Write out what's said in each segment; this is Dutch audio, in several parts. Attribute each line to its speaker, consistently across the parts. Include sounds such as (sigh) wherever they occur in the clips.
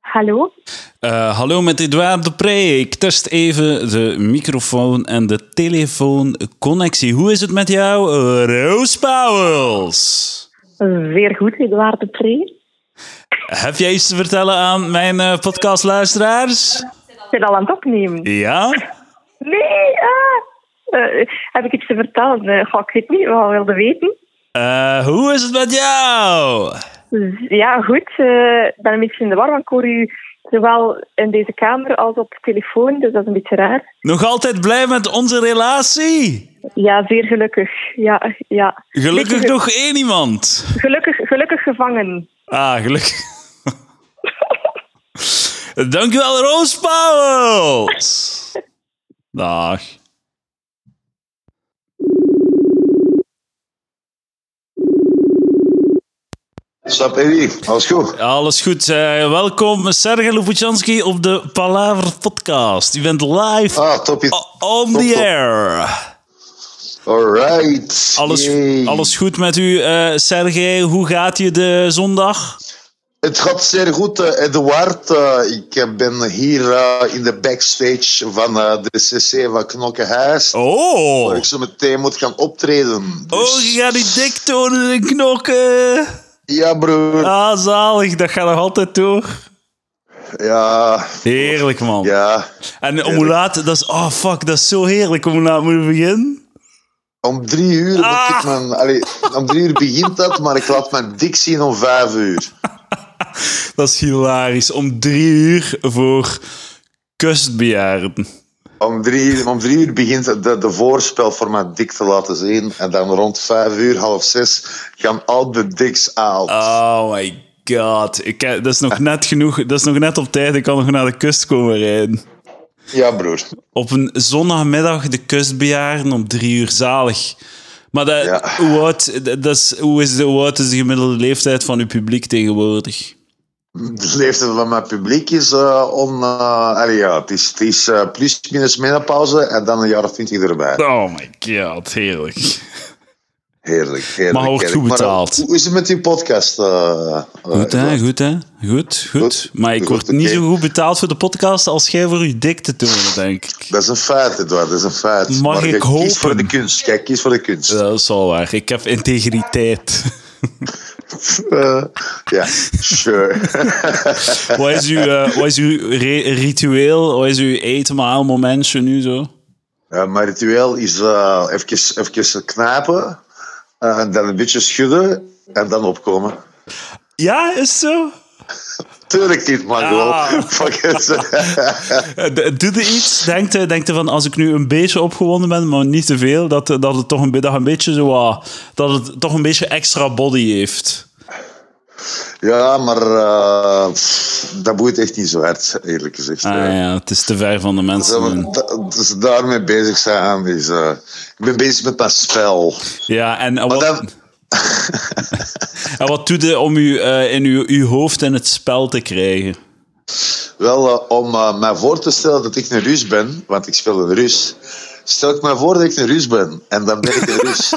Speaker 1: Hallo?
Speaker 2: Eh, hallo met Edouard Depree. Ik test even de microfoon en de telefoonconnectie. Hoe is het met jou, Roos Pauwels?
Speaker 1: Weer goed, Eduard de Pre.
Speaker 2: Heb jij iets te vertellen aan mijn eh, podcastluisteraars?
Speaker 1: Ik ben al aan het opnemen.
Speaker 2: Ja?
Speaker 1: Nee, ah. Eh, heb ik iets te vertellen? Eh, goh, ik weet niet, wat wilde weten?
Speaker 2: Eh, hoe is het met jou?
Speaker 1: Dus ja, goed. eh, Ik ben een beetje in de war, want ik hoor u zowel in deze kamer als op de telefoon, dus dat is een beetje raar.
Speaker 2: Nog altijd blij met onze relatie?
Speaker 1: Ja, zeer gelukkig. Ja, ja.
Speaker 2: Gelukkig
Speaker 1: Beetje ge-
Speaker 2: nog één iemand.
Speaker 1: Gelukkig, gelukkig gevangen.
Speaker 2: Ah, gelukkig. (laughs) Dankjewel, Roos Pauwels. Dag.
Speaker 3: Stap Eddie, alles goed?
Speaker 2: Alles goed. eh, welkom, Sergej Lubochanski, op de Palaver Podcast. U bent live
Speaker 3: Ah, topje.
Speaker 2: o- on
Speaker 3: top,
Speaker 2: the
Speaker 3: top.
Speaker 2: air.
Speaker 3: Alright.
Speaker 2: Alles,
Speaker 3: Yay.
Speaker 2: alles goed met u, eh Sergej? Hoe gaat je de zondag?
Speaker 3: Het gaat zeer goed, eh, Eduard. Eh, ik eh, ben hier eh, in de backstage van eh, de CC van Knokkenhuis.
Speaker 2: Oh,
Speaker 3: Waar ik zo meteen moet gaan optreden. Dus-
Speaker 2: oh je gaat die dik tonen en knokken.
Speaker 3: Ja, broer.
Speaker 2: Ah, zalig. Dat gaat nog altijd door.
Speaker 3: Ja,
Speaker 2: Heerlijk, man.
Speaker 3: ja.
Speaker 2: En om hoe laat, dat is, oh fuck, dat is zo heerlijk om hoe laat moeten we beginnen.
Speaker 3: Om drie uur, moet
Speaker 2: Ah.
Speaker 3: ik mijn, allee, om drie uur begint dat, maar ik laat mijn dik zien om vijf uur.
Speaker 2: Dat is hilarisch. Om drie uur voor kustbejaarden.
Speaker 3: Om drie, uur- om drie uur begint de, de voorspel voor mijn dik te laten zien. En dan rond vijf uur, half zes, gaan al de diks aan.
Speaker 2: Oh my god. Ik, heb- dat is nog net genoeg, dat is nog net op tijd. Ik kan nog naar de kust komen rijden.
Speaker 3: Ja, broer.
Speaker 2: Op een zondagmiddag de kustbejaarden om drie uur zalig. Maar dat,
Speaker 3: Ja.
Speaker 2: hoe, oud, dat dat is, hoe, is de, hoe oud is de gemiddelde leeftijd van uw publiek tegenwoordig?
Speaker 3: De leeftijd van mijn publiek is eh on... eh, allee, ja, het is, het is eh, plus minus menopauze en dan een jaar of twintig erbij.
Speaker 2: Oh my god, heerlijk.
Speaker 3: Heerlijk, heerlijk.
Speaker 2: Maar wordt
Speaker 3: heerlijk.
Speaker 2: goed
Speaker 3: eh,
Speaker 2: betaald.
Speaker 3: hoe is het met uw podcast? eh, eh,
Speaker 2: Goed, hè?
Speaker 3: Eduard?
Speaker 2: Goed, hè? Goed, goed.
Speaker 3: Goed.
Speaker 2: Maar ik
Speaker 3: Goed,
Speaker 2: word
Speaker 3: oké.
Speaker 2: niet zo goed betaald voor de podcast als jij voor je dik te tonen, denk ik.
Speaker 3: Dat is een feit, Edouard, dat is een feit.
Speaker 2: Mag
Speaker 3: maar
Speaker 2: ik
Speaker 3: je
Speaker 2: hopen?
Speaker 3: kiest voor de kunst. Kijk, kies voor de kunst.
Speaker 2: Dat is al waar. Ik heb integriteit.
Speaker 3: (laughs) Eh, ja, sure.
Speaker 2: (laughs) wat is uw, eh, wat is uw re- ritueel? Wat is uw etenmaalmomentje nu zo?
Speaker 3: Ja, mijn ritueel is eh even, even knijpen, eh, en dan een beetje schudden en dan opkomen.
Speaker 2: Ja, is zo?
Speaker 3: Tuurlijk niet, maar
Speaker 2: Ah.
Speaker 3: gewoon. (laughs) Fuck it.
Speaker 2: Eh, d- Doe er iets? Denkt u denkt u van als ik nu een beetje opgewonden ben, maar niet te veel, dat, eh, dat het toch een, be- dat een beetje zo wat- dat het toch een beetje extra body heeft?
Speaker 3: (laughs) ja, maar eh, dat boeit echt niet zo hard, eerlijk gezegd. Eh,
Speaker 2: Ah ja, Mm. het is te ver van de mensen.
Speaker 3: Dat, dat, dat ze daarmee bezig zijn is... eh, ik ben bezig met mijn spel.
Speaker 2: Ja, en eh,
Speaker 3: Maar
Speaker 2: wat,
Speaker 3: dan-
Speaker 2: (laughs) en wat doet je om u, eh, in uw, uw hoofd in het spel te krijgen?
Speaker 3: Wel, eh, om eh, mij voor te stellen dat ik een Rus ben, want ik speel een Rus. Stel ik mij voor dat ik een Rus ben, en dan ben ik een
Speaker 2: (laughs)
Speaker 3: Rus.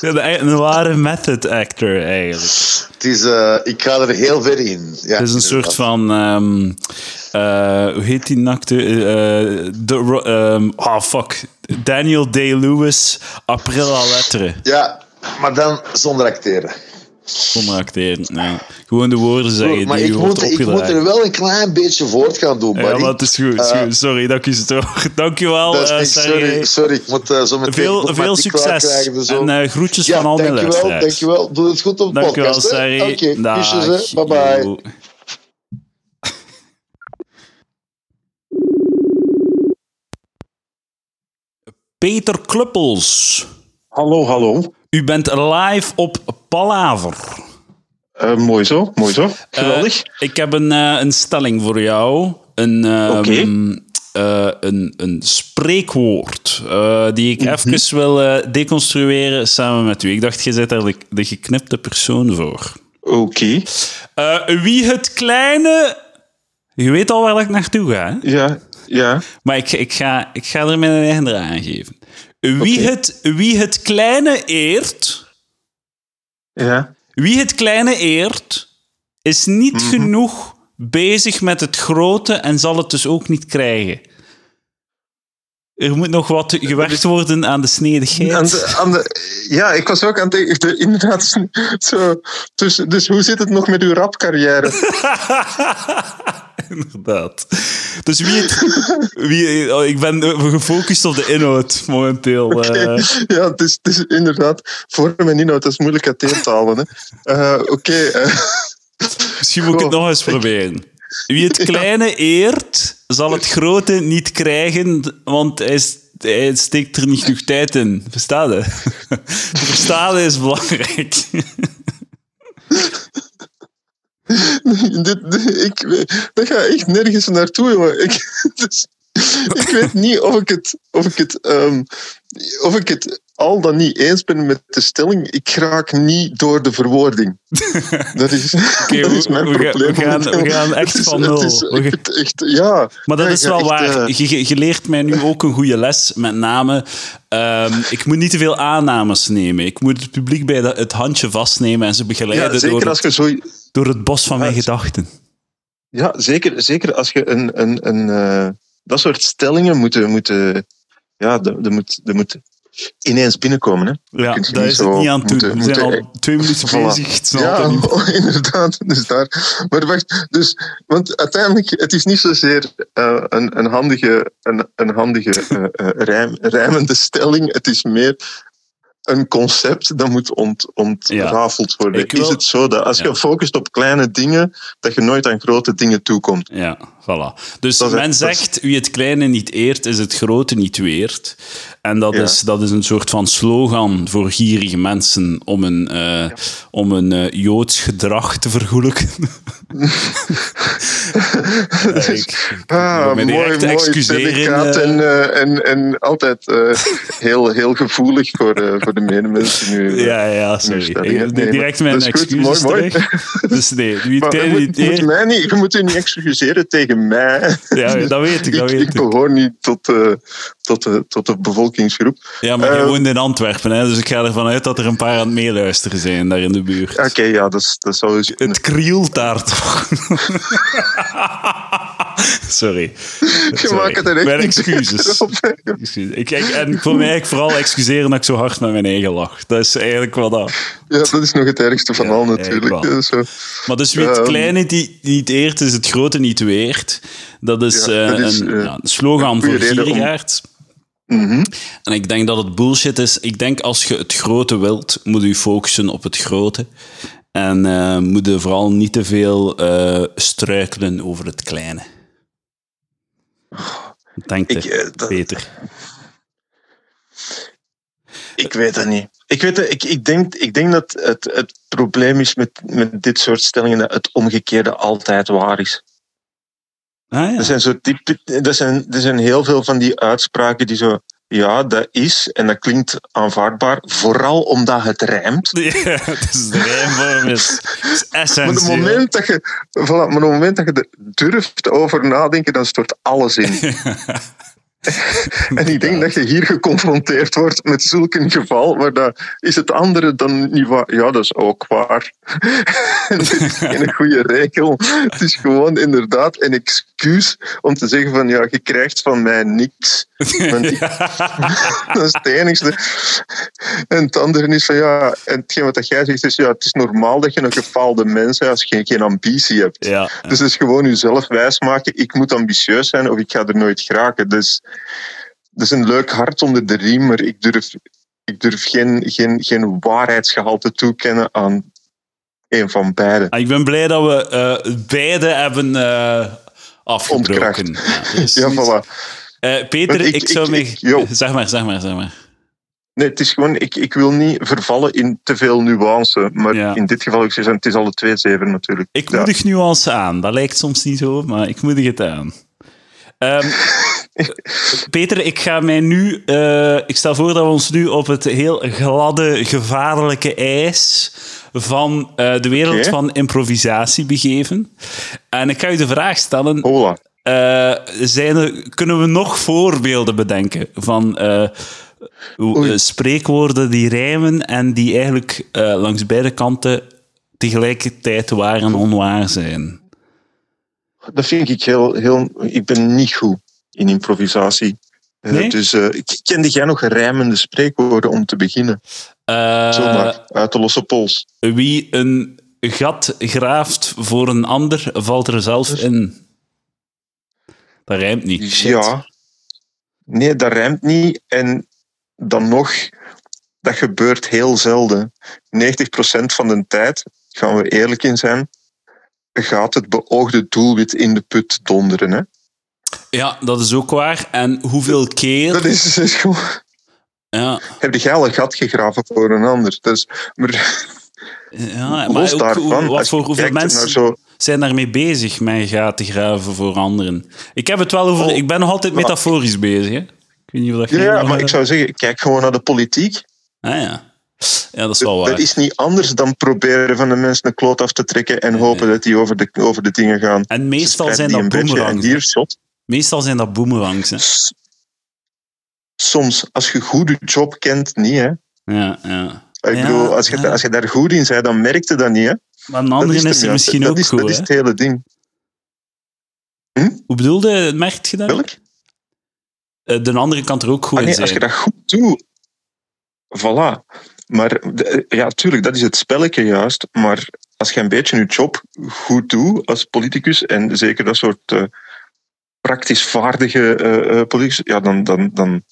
Speaker 2: Ja, de- Een ware method actor, eigenlijk.
Speaker 3: Het is, eh, ik ga er heel ver in. Ja,
Speaker 2: Het is een soort van... ehm, eh, hoe heet die nakte? eh, eh, de, Ro- ehm, ah, fuck. Daniel Day-Lewis, April à lettre.
Speaker 3: Ja, maar dan zonder acteren.
Speaker 2: Kom maar acteren. ja. Gewoon de woorden zeggen
Speaker 3: maar
Speaker 2: die
Speaker 3: ik
Speaker 2: je wordt
Speaker 3: moet, ik moet
Speaker 2: opgedragen.
Speaker 3: er wel een klein beetje voort gaan doen,
Speaker 2: Ja,
Speaker 3: buddy.
Speaker 2: maar het is goed. het is
Speaker 3: Eh,
Speaker 2: goed. Sorry, dank je zo. (laughs) Dankjewel,
Speaker 3: dat is
Speaker 2: eh,
Speaker 3: niks, sorry,
Speaker 2: Sergej.
Speaker 3: sorry, ik moet eh, zo meteen... ik
Speaker 2: Veel,
Speaker 3: moet mijn
Speaker 2: veel
Speaker 3: dik klaar
Speaker 2: succes.
Speaker 3: krijgen, dus zo.
Speaker 2: En eh, groetjes
Speaker 3: ja,
Speaker 2: van al mijn
Speaker 3: dankjewel,
Speaker 2: luisteraars.
Speaker 3: dankjewel. Doe het goed op de
Speaker 2: Dankjewel,
Speaker 3: podcast. hè.
Speaker 2: Sarri.
Speaker 3: Oké,
Speaker 2: Dag.
Speaker 3: kusjes, hè. Bye-bye.
Speaker 2: Yo. Peter Kluppels,
Speaker 4: Hallo, hallo.
Speaker 2: u bent live op Palaver.
Speaker 4: Eh, mooi zo, mooi zo. Geweldig.
Speaker 2: Eh, ik heb een, eh, een stelling voor jou. Een, ehm,
Speaker 4: Oké.
Speaker 2: eh, een, een spreekwoord eh, die ik
Speaker 3: Mhm.
Speaker 2: even wil eh, deconstrueren samen met u. Ik dacht, je zit daar de, de geknipte persoon voor.
Speaker 4: Oké.
Speaker 2: Eh, wie het kleine. Je weet al waar ik naartoe ga, hè?
Speaker 4: Ja, ja.
Speaker 2: maar ik, ik, ga, ik ga er mijn eigen draai aan geven. Wie, het, wie het kleine eert,
Speaker 4: Ja.
Speaker 2: wie het kleine eert, is niet genoeg bezig met het grote en zal het dus ook niet krijgen. Er moet nog wat gewerkt worden aan de snedigheid.
Speaker 4: Aan de, aan de, ja, ik was ook aan het de, inderdaad zo. Dus, dus hoe zit het nog met uw rapcarrière?
Speaker 2: (laughs) Inderdaad. Dus wie het, (laughs) wie, oh, ik ben eh, gefocust op de inhoud momenteel. (laughs) eh.
Speaker 4: Ja, het is, het is inderdaad vorm en inhoud, dat is moeilijk uit te halen. hè. Eh, Oké, eh,
Speaker 2: misschien moet ik het
Speaker 4: Goh,
Speaker 2: nog eens proberen. Wie
Speaker 4: (laughs)
Speaker 2: het kleine eert, zal het grote niet krijgen, want hij, s- hij steekt er niet genoeg tijd in. Verstaan je? (laughs) Verstaan is belangrijk.
Speaker 4: (laughs) dit, dit- ik, dat gaat echt nergens naartoe, jongen. Ik, (laughs) dus, ik weet niet of ik het, of ik het, ehm, of ik het al dan niet eens ben met de stelling. Ik raak niet door de
Speaker 2: (laughs)
Speaker 4: verwoording. Dat is,
Speaker 2: Oké,
Speaker 4: (laughs) dat
Speaker 2: we-
Speaker 4: is mijn
Speaker 2: we, gaan-
Speaker 4: probleem.
Speaker 2: we gaan, we gaan echt
Speaker 4: (laughs) Het is-
Speaker 2: van
Speaker 4: het
Speaker 2: nul.
Speaker 4: is
Speaker 2: We gaan-
Speaker 4: echt- echt- ja.
Speaker 2: Maar dat
Speaker 4: Ja,
Speaker 2: is
Speaker 4: ik
Speaker 2: wel
Speaker 4: ga echt,
Speaker 2: waar.
Speaker 4: eh,
Speaker 2: Je, je- je leert mij nu ook een goede les. Met name, ehm, ik moet niet te veel aannames nemen. Ik moet het publiek bij de- het handje vastnemen en ze begeleiden
Speaker 4: ja,
Speaker 2: door,
Speaker 4: zeker als je zo,
Speaker 2: door het bos van mijn
Speaker 4: Ja,
Speaker 2: gedachten.
Speaker 4: Ja, zeker, zeker als je een, een, een, eh, dat soort stellingen moeten, moeten ja, dat dat moet, dat moet ineens binnenkomen. Hè.
Speaker 2: Ja,
Speaker 4: kunt je
Speaker 2: daar
Speaker 4: niet
Speaker 2: is het
Speaker 4: zo
Speaker 2: niet aan toe.
Speaker 4: moeten-
Speaker 2: We zijn
Speaker 4: moeten-
Speaker 2: al twee minuten
Speaker 4: Voilà.
Speaker 2: bezig. Het is nog
Speaker 4: ja, oh,
Speaker 2: altijd
Speaker 4: (laughs)
Speaker 2: niet-
Speaker 4: inderdaad. Dus daar. Maar wacht, dus, want uiteindelijk, het is niet zozeer eh, een, een handige, een, een handige eh, eh, rijm, rijmende stelling. Het is meer een concept dat moet ont, ontrafeld worden.
Speaker 2: Ik wil-
Speaker 4: Is het zo dat als
Speaker 2: Ja.
Speaker 4: je focust op kleine dingen, dat je nooit aan grote dingen toekomt?
Speaker 2: Ja, voilà. Dus
Speaker 4: Dat is-
Speaker 2: men
Speaker 4: dat is-
Speaker 2: zegt, wie het kleine niet eert, is het grote niet weert. En dat,
Speaker 4: Ja.
Speaker 2: is, dat is een soort van slogan voor gierige mensen om een, eh, om een eh, joods gedrag te vergoelijken. Ja, ik- ik wil
Speaker 4: (laughs) Ah,
Speaker 2: me
Speaker 4: mooi,
Speaker 2: direct
Speaker 4: mooi
Speaker 2: excuseren.
Speaker 4: predicaat
Speaker 2: eh,
Speaker 4: en, eh, en, en altijd eh, heel, heel gevoelig voor, eh, voor de
Speaker 2: (laughs)
Speaker 4: medemensen nu.
Speaker 2: (laughs)
Speaker 4: eh.
Speaker 2: Ja, ja, sorry. Ik
Speaker 4: Stellingen.
Speaker 2: neem
Speaker 4: Nee, maar
Speaker 2: direct mijn
Speaker 4: dat is goed.
Speaker 2: excuses
Speaker 4: Mooi, mooi.
Speaker 2: terug. Dus nee, wie het
Speaker 4: Maar je
Speaker 2: kleine
Speaker 4: moet,
Speaker 2: niet
Speaker 4: je, (laughs) moet
Speaker 2: eert...
Speaker 4: mij niet, je moet je niet excuseren tegen (laughs) mij.
Speaker 2: (laughs) Ja, ja, dat weet ik, dat
Speaker 4: ik,
Speaker 2: weet ik.
Speaker 4: behoor niet tot, eh, tot, de, tot de bevolkingsgroep.
Speaker 2: Ja, maar je
Speaker 4: Eh,
Speaker 2: woont in Antwerpen, hè, dus ik ga ervan uit dat er een paar aan het meeluisteren zijn daar in de buurt.
Speaker 4: Oké, ja, dat, is- dat zou eens
Speaker 2: Het krielt daar toch? Sorry.
Speaker 4: (laughs) Je maakt het er echt
Speaker 2: Mijn
Speaker 4: niet (laughs) beter
Speaker 2: excuses.
Speaker 4: op, hè.
Speaker 2: Excuses. Ik, ik, en ik wil mij eigenlijk vooral excuseren dat ik zo hard met mijn eigen lach. Dat is eigenlijk wat dat.
Speaker 4: Ja, dat is nog het ergste van
Speaker 2: Ja,
Speaker 4: al
Speaker 2: eigenlijk
Speaker 4: natuurlijk.
Speaker 2: wel.
Speaker 4: Ja, zo.
Speaker 2: Maar dus wie het
Speaker 4: Ehm.
Speaker 2: kleine die, niet eert, is het grote niet weert. Dat is,
Speaker 4: Ja, dat
Speaker 2: eh,
Speaker 4: is,
Speaker 2: een,
Speaker 4: eh,
Speaker 2: ja, een slogan
Speaker 4: goede
Speaker 2: voor
Speaker 4: reden om-
Speaker 2: gierigaards.
Speaker 4: Mhm.
Speaker 2: En ik denk dat het bullshit is. Ik denk als je het grote wilt, moet je focussen op het grote. En eh, moet je vooral niet te veel eh, struikelen over het kleine. Denk
Speaker 4: Ik,
Speaker 2: ik,
Speaker 4: eh, dat-
Speaker 2: Peter.
Speaker 4: Ik weet het niet. Ik, weet het, ik, ik, denk, ik denk dat het, het probleem is met, met dit soort stellingen dat het omgekeerde altijd waar is.
Speaker 2: Ah, ja.
Speaker 4: Er zijn, zo typ, er zijn, er zijn heel veel van die uitspraken die zo. Ja, dat is en dat klinkt aanvaardbaar, vooral omdat het rijmt.
Speaker 2: (laughs) Ja, het is de rijmvorm
Speaker 4: (laughs)
Speaker 2: is, is
Speaker 4: Maar het
Speaker 2: essentieel.
Speaker 4: moment dat je, voilà, maar het moment dat je er durft over nadenken, dan stort alles in. en ik denk dat je hier geconfronteerd wordt met zulk een geval, waar dat, is het andere dan niet waar? Ja, dat is ook waar. (laughs) en dit is geen goede regel. Het is gewoon inderdaad een excuus om te zeggen van, ja, je krijgt van mij niks. Want ik- dat is het enigste. En het andere is van ja, en hetgeen wat dat jij zegt is ja, het is normaal dat je een gefaalde mens bent als je geen, geen ambitie hebt.
Speaker 2: Ja,
Speaker 4: Dus het is gewoon jezelf wijsmaken, ik moet ambitieus zijn of ik ga er nooit geraken. Dus dat is een leuk hart onder de riem, maar ik durf, ik durf geen, geen, geen waarheidsgehalte toekennen aan een van beiden.
Speaker 2: Ah, ik ben blij dat we eh, beide hebben eh afgebroken. Ja, er is
Speaker 4: Ja,
Speaker 2: niets-
Speaker 4: voilà.
Speaker 2: Eh, Peter,
Speaker 4: Want
Speaker 2: ik,
Speaker 4: ik-
Speaker 2: zou
Speaker 4: ik-
Speaker 2: me...
Speaker 4: ik- yo.
Speaker 2: zeg maar, zeg maar, zeg maar.
Speaker 4: Nee, het is gewoon, ik, ik wil niet vervallen in te veel nuance, maar
Speaker 2: Ja.
Speaker 4: in dit geval, ik zeg, het is alle twee zeven natuurlijk.
Speaker 2: Ik
Speaker 4: Ja.
Speaker 2: moedig nuance aan. Dat lijkt soms niet zo, maar ik moedig het aan. Ehm,
Speaker 4: (laughs)
Speaker 2: Peter, ik ga mij nu. eh, ik stel voor dat we ons nu op het heel gladde, gevaarlijke ijs van eh, de wereld
Speaker 4: Oké.
Speaker 2: van improvisatie begeven. En ik ga u de vraag stellen:
Speaker 4: Hola.
Speaker 2: eh, zijn er, kunnen we nog voorbeelden bedenken van eh, hoe-
Speaker 4: Oei.
Speaker 2: eh, spreekwoorden die rijmen en die eigenlijk eh, langs beide kanten tegelijkertijd waar en onwaar zijn?
Speaker 4: dat vind ik heel, heel... Ik ben niet goed in improvisatie. Eh,
Speaker 2: Nee?
Speaker 4: Dus eh, ik kende jij nog rijmende spreekwoorden om te beginnen?
Speaker 2: Eh,
Speaker 4: Zomaar, uit de losse pols.
Speaker 2: wie een gat graaft voor een ander, valt er zelf
Speaker 4: Dus-
Speaker 2: in. Dat rijmt niet. Shit.
Speaker 4: Ja. Nee, dat rijmt niet. En dan nog, dat gebeurt heel zelden. 90% van de tijd, gaan we eerlijk in zijn, gaat het beoogde doelwit in de put donderen. Hè?
Speaker 2: Ja, dat is ook waar. En hoeveel keer...
Speaker 4: Dat is, is gewoon...
Speaker 2: Ja,
Speaker 4: Heb jij al een gat gegraven voor een ander? Dus, maar
Speaker 2: ja
Speaker 4: los
Speaker 2: maar ook,
Speaker 4: daarvan,
Speaker 2: hoe- wat
Speaker 4: als
Speaker 2: voor
Speaker 4: je
Speaker 2: hoeveel
Speaker 4: kijkt
Speaker 2: mensen
Speaker 4: naar zo,
Speaker 2: zijn daarmee bezig, mijn gaten graven voor anderen? Ik heb het wel over...
Speaker 4: Oh.
Speaker 2: Ik ben nog altijd
Speaker 4: Ja.
Speaker 2: metaforisch bezig, hè. Ik weet niet of dat
Speaker 4: ja,
Speaker 2: jij
Speaker 4: ja,
Speaker 2: nog-
Speaker 4: maar ik zou zeggen, kijk gewoon naar de politiek.
Speaker 2: Ah ja. Ja, dat is wel waar.
Speaker 4: Dat is niet anders dan proberen van de mensen een kloot af te trekken en hopen dat die over de, over de dingen gaan.
Speaker 2: En meestal
Speaker 4: Ze
Speaker 2: zijn
Speaker 4: krijgen die
Speaker 2: dat
Speaker 4: een beetje
Speaker 2: boemerangs.
Speaker 4: en Hier, shot.
Speaker 2: Meestal zijn dat boemerangs, hè.
Speaker 4: S- Soms, als je goed je job kent, niet. Hè.
Speaker 2: Ja, ja.
Speaker 4: Ik
Speaker 2: Ja,
Speaker 4: bedoel, als je,
Speaker 2: ja.
Speaker 4: als je daar goed in bent, dan merkte dat niet. Hè.
Speaker 2: Maar een
Speaker 4: Dat
Speaker 2: andere is,
Speaker 4: hem
Speaker 2: er
Speaker 4: juist.
Speaker 2: misschien
Speaker 4: dat
Speaker 2: ook
Speaker 4: is,
Speaker 2: goed,
Speaker 4: Dat is
Speaker 2: hè.
Speaker 4: het hele ding.
Speaker 2: Hoe bedoelde, merk je dat?
Speaker 4: Welk?
Speaker 2: Eh, De andere kan er ook goed in
Speaker 4: Ah, nee,
Speaker 2: zijn.
Speaker 4: als je dat goed doet, voilà. Maar de- ja, tuurlijk, dat is het spelletje juist. Maar als je een beetje je job goed doet als politicus, en zeker dat soort eh, praktisch vaardige eh, eh, politicus, ja, dan, dan, dan,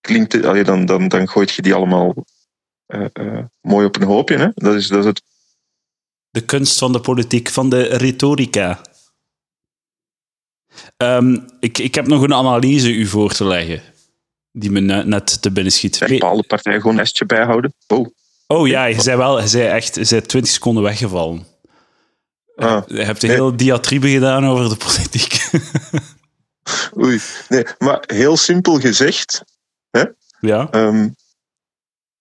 Speaker 4: klinkt het, allee, dan, dan, dan gooit je die allemaal eh, eh, mooi op een hoopje. Hè? Dat, is, dat is het
Speaker 2: De kunst van de politiek, van de retorica. Ehm, ik, ik heb nog een analyse u voor te leggen, die me ne- net te binnen schiet.
Speaker 4: een
Speaker 2: Weet-
Speaker 4: bepaalde partij gewoon een nestje bijhouden. Wow.
Speaker 2: Oh ja, je zei wel, je zei echt, je zei 20 seconden weggevallen.
Speaker 4: Ah.
Speaker 2: Je hebt een
Speaker 4: Nee.
Speaker 2: heel diatribe gedaan over de politiek. (laughs)
Speaker 4: Oei. Nee, maar heel simpel gezegd,
Speaker 2: ja,
Speaker 4: ehm,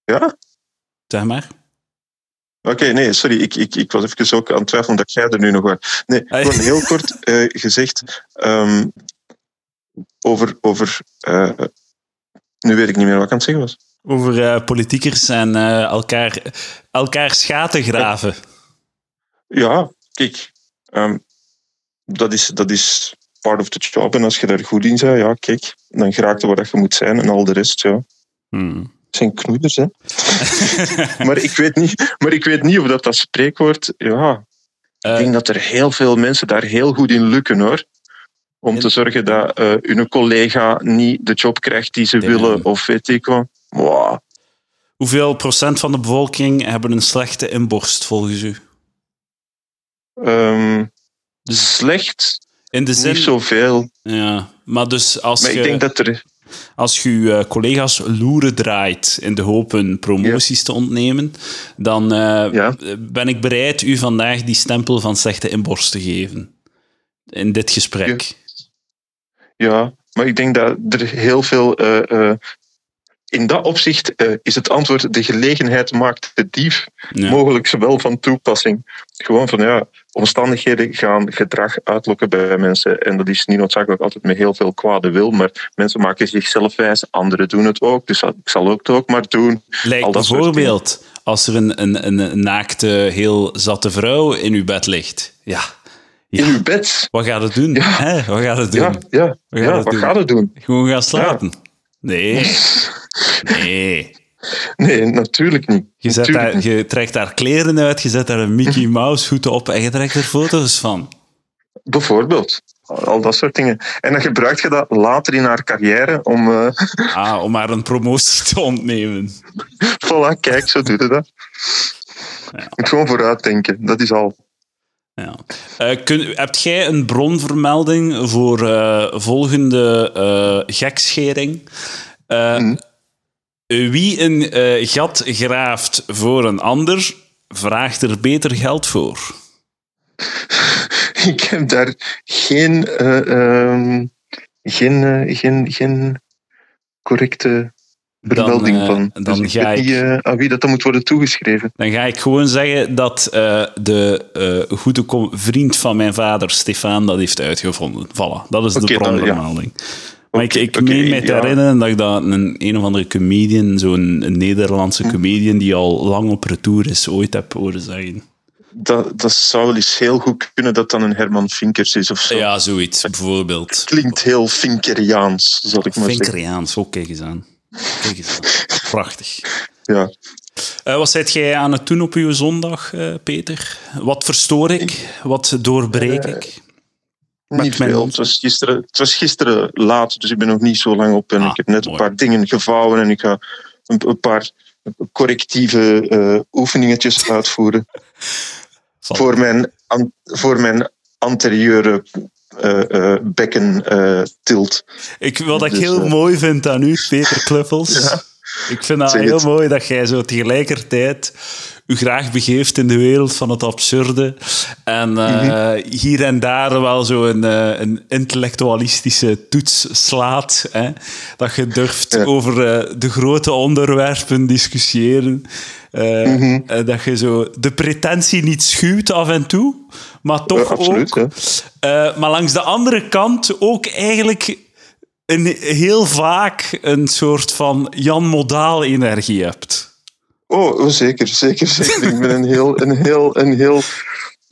Speaker 4: ja,
Speaker 2: zeg maar.
Speaker 4: Oké, nee, sorry. Ik, ik, ik was even ook aan het twijfelen dat jij er nu nog was. Nee,
Speaker 2: Ah, ja.
Speaker 4: gewoon heel kort eh, gezegd ehm, over... over eh, nu weet ik niet meer wat ik aan het zeggen was.
Speaker 2: Over eh, politiekers en eh, elkaar, elkaar schaten graven.
Speaker 4: Ja, kijk. ehm, dat, is, dat is part of the job. En als je daar goed in bent, ja, kijk. Dan geraakt waar dat je moet zijn en al de rest, ja. (laughs)
Speaker 2: Hmm.
Speaker 4: Het zijn knoeders, hè. maar, ik weet niet, maar ik weet niet of dat dat spreekwoord... Ja,
Speaker 2: Eh,
Speaker 4: Ik denk dat er heel veel mensen daar heel goed in lukken hoor. Om
Speaker 2: En-
Speaker 4: te zorgen dat eh, hun collega niet de job krijgt die ze
Speaker 2: Ja.
Speaker 4: willen of weet ik wat. Wow.
Speaker 2: hoeveel procent van de bevolking hebben een slechte inborst volgens u?
Speaker 4: Ehm,
Speaker 2: Dus
Speaker 4: slecht,
Speaker 2: In de zin.
Speaker 4: niet zoveel.
Speaker 2: Ja, maar dus als
Speaker 4: Maar
Speaker 2: je,
Speaker 4: ik denk dat er.
Speaker 2: als je uw, eh, collega's loeren draait in de hoop hun promoties te ontnemen, dan eh,
Speaker 4: Ja.
Speaker 2: ben ik bereid u vandaag die stempel van slechte inborst te geven. In dit gesprek.
Speaker 4: Ja, maar ik denk dat er heel veel. eh, eh, in dat opzicht eh, is het antwoord: de gelegenheid maakt de dief.
Speaker 2: Ja.
Speaker 4: Mogelijk zowel van toepassing. Gewoon van ja, omstandigheden gaan gedrag uitlokken bij mensen. En dat is niet noodzakelijk altijd met heel veel kwade wil. Maar mensen maken zichzelf wijs, anderen doen het ook. Dus ik zal ook het ook maar doen.
Speaker 2: Lijkt
Speaker 4: Al dat soort
Speaker 2: bijvoorbeeld als er een, een, een, een naakte, heel zatte vrouw in uw bed ligt. Ja.
Speaker 4: In
Speaker 2: ja.
Speaker 4: uw bed.
Speaker 2: Wat gaat het doen?
Speaker 4: Ja.
Speaker 2: Hè? Wat gaat het doen?
Speaker 4: Ja, ja,
Speaker 2: We
Speaker 4: ja,
Speaker 2: gaan het
Speaker 4: wat
Speaker 2: doen.
Speaker 4: gaat het doen?
Speaker 2: Gewoon gaan slapen? Nee. Nee.
Speaker 4: Nee, natuurlijk niet.
Speaker 2: Je, zet
Speaker 4: Natuurlijk
Speaker 2: daar,
Speaker 4: niet.
Speaker 2: je trekt daar kleren uit, je zet daar een
Speaker 4: (laughs)
Speaker 2: Mickey Mouse hoed op en je trekt er foto's van.
Speaker 4: Bijvoorbeeld. Al dat soort dingen. En dan gebruikt je dat later in haar carrière om... eh (laughs)
Speaker 2: Ah, om haar een promotie te ontnemen.
Speaker 4: voilà, kijk, zo doet het dat. Moet gewoon vooruitdenken, dat is al. (laughs)
Speaker 2: Ja. Eh, kun, hebt jij een bronvermelding voor eh, volgende eh, gekschering? Eh, Wie een eh, gat graaft voor een ander, vraagt er beter geld voor.
Speaker 4: Ik heb daar geen, eh, ehm, geen, eh, geen, geen correcte vermelding
Speaker 2: eh,
Speaker 4: van.
Speaker 2: dan
Speaker 4: dus ik
Speaker 2: ga
Speaker 4: weet
Speaker 2: ik-
Speaker 4: niet eh, aan wie dat dan moet worden toegeschreven.
Speaker 2: Dan ga ik gewoon zeggen dat eh, de eh, goede com- vriend van mijn vader, Stefan, dat heeft uitgevonden. Voilà, dat is de
Speaker 4: Oké, dan, ja.
Speaker 2: bronvermelding. Maar ik, ik
Speaker 4: oké,
Speaker 2: meen mij te
Speaker 4: ja.
Speaker 2: herinneren dat ik dat een, een of andere
Speaker 4: Hm.
Speaker 2: comedian, zo'n Nederlandse comedian die al lang op retour is, ooit heb horen zeggen.
Speaker 4: dat, dat zou wel eens heel goed kunnen dat dan een Herman Vinkers is of zo.
Speaker 2: Ja, zoiets, bijvoorbeeld.
Speaker 4: Klinkt heel Vinkeriaans, zal ik maar zeggen.
Speaker 2: Vinkeriaans, ook Oh, kijk eens aan. Kijk eens aan. Prachtig.
Speaker 4: Ja.
Speaker 2: Eh, wat zet jij aan het doen op uw zondag, eh, Peter? Wat verstoor ik? Wat doorbreek
Speaker 4: Eh,
Speaker 2: ik? Met
Speaker 4: niet
Speaker 2: mijn
Speaker 4: veel.
Speaker 2: hond.
Speaker 4: Het was, gisteren, het was gisteren laat, dus ik ben nog niet zo lang op. En
Speaker 2: Ah,
Speaker 4: ik heb net
Speaker 2: mooi.
Speaker 4: een paar dingen gevouwen en ik ga een, een paar correctieve eh,
Speaker 2: (laughs)
Speaker 4: oefeningetjes uitvoeren
Speaker 2: Van-
Speaker 4: voor mijn, an- voor mijn anterieure eh, eh, bekken eh, tilt.
Speaker 2: Ik, wat ik
Speaker 4: Dus,
Speaker 2: heel
Speaker 4: eh,
Speaker 2: mooi vind aan u, Peter Kluffels. Ik vind dat
Speaker 4: zeg
Speaker 2: heel
Speaker 4: het.
Speaker 2: mooi dat jij zo tegelijkertijd u graag begeeft in de wereld van het absurde. En eh,
Speaker 4: Mhm.
Speaker 2: hier en daar wel zo een, eh, een intellectualistische toets slaat. Hè? Dat je durft
Speaker 4: Ja.
Speaker 2: over eh, de grote onderwerpen discussiëren. Eh,
Speaker 4: Mhm.
Speaker 2: eh, dat je zo de pretentie niet schuwt af en toe, maar toch
Speaker 4: Eh, absoluut,
Speaker 2: ook eh, maar langs de andere kant ook eigenlijk een, heel vaak een soort van Jan Modaal-energie hebt.
Speaker 4: Oh, oh, zeker, zeker, zeker. ik ben een heel, een heel, een heel,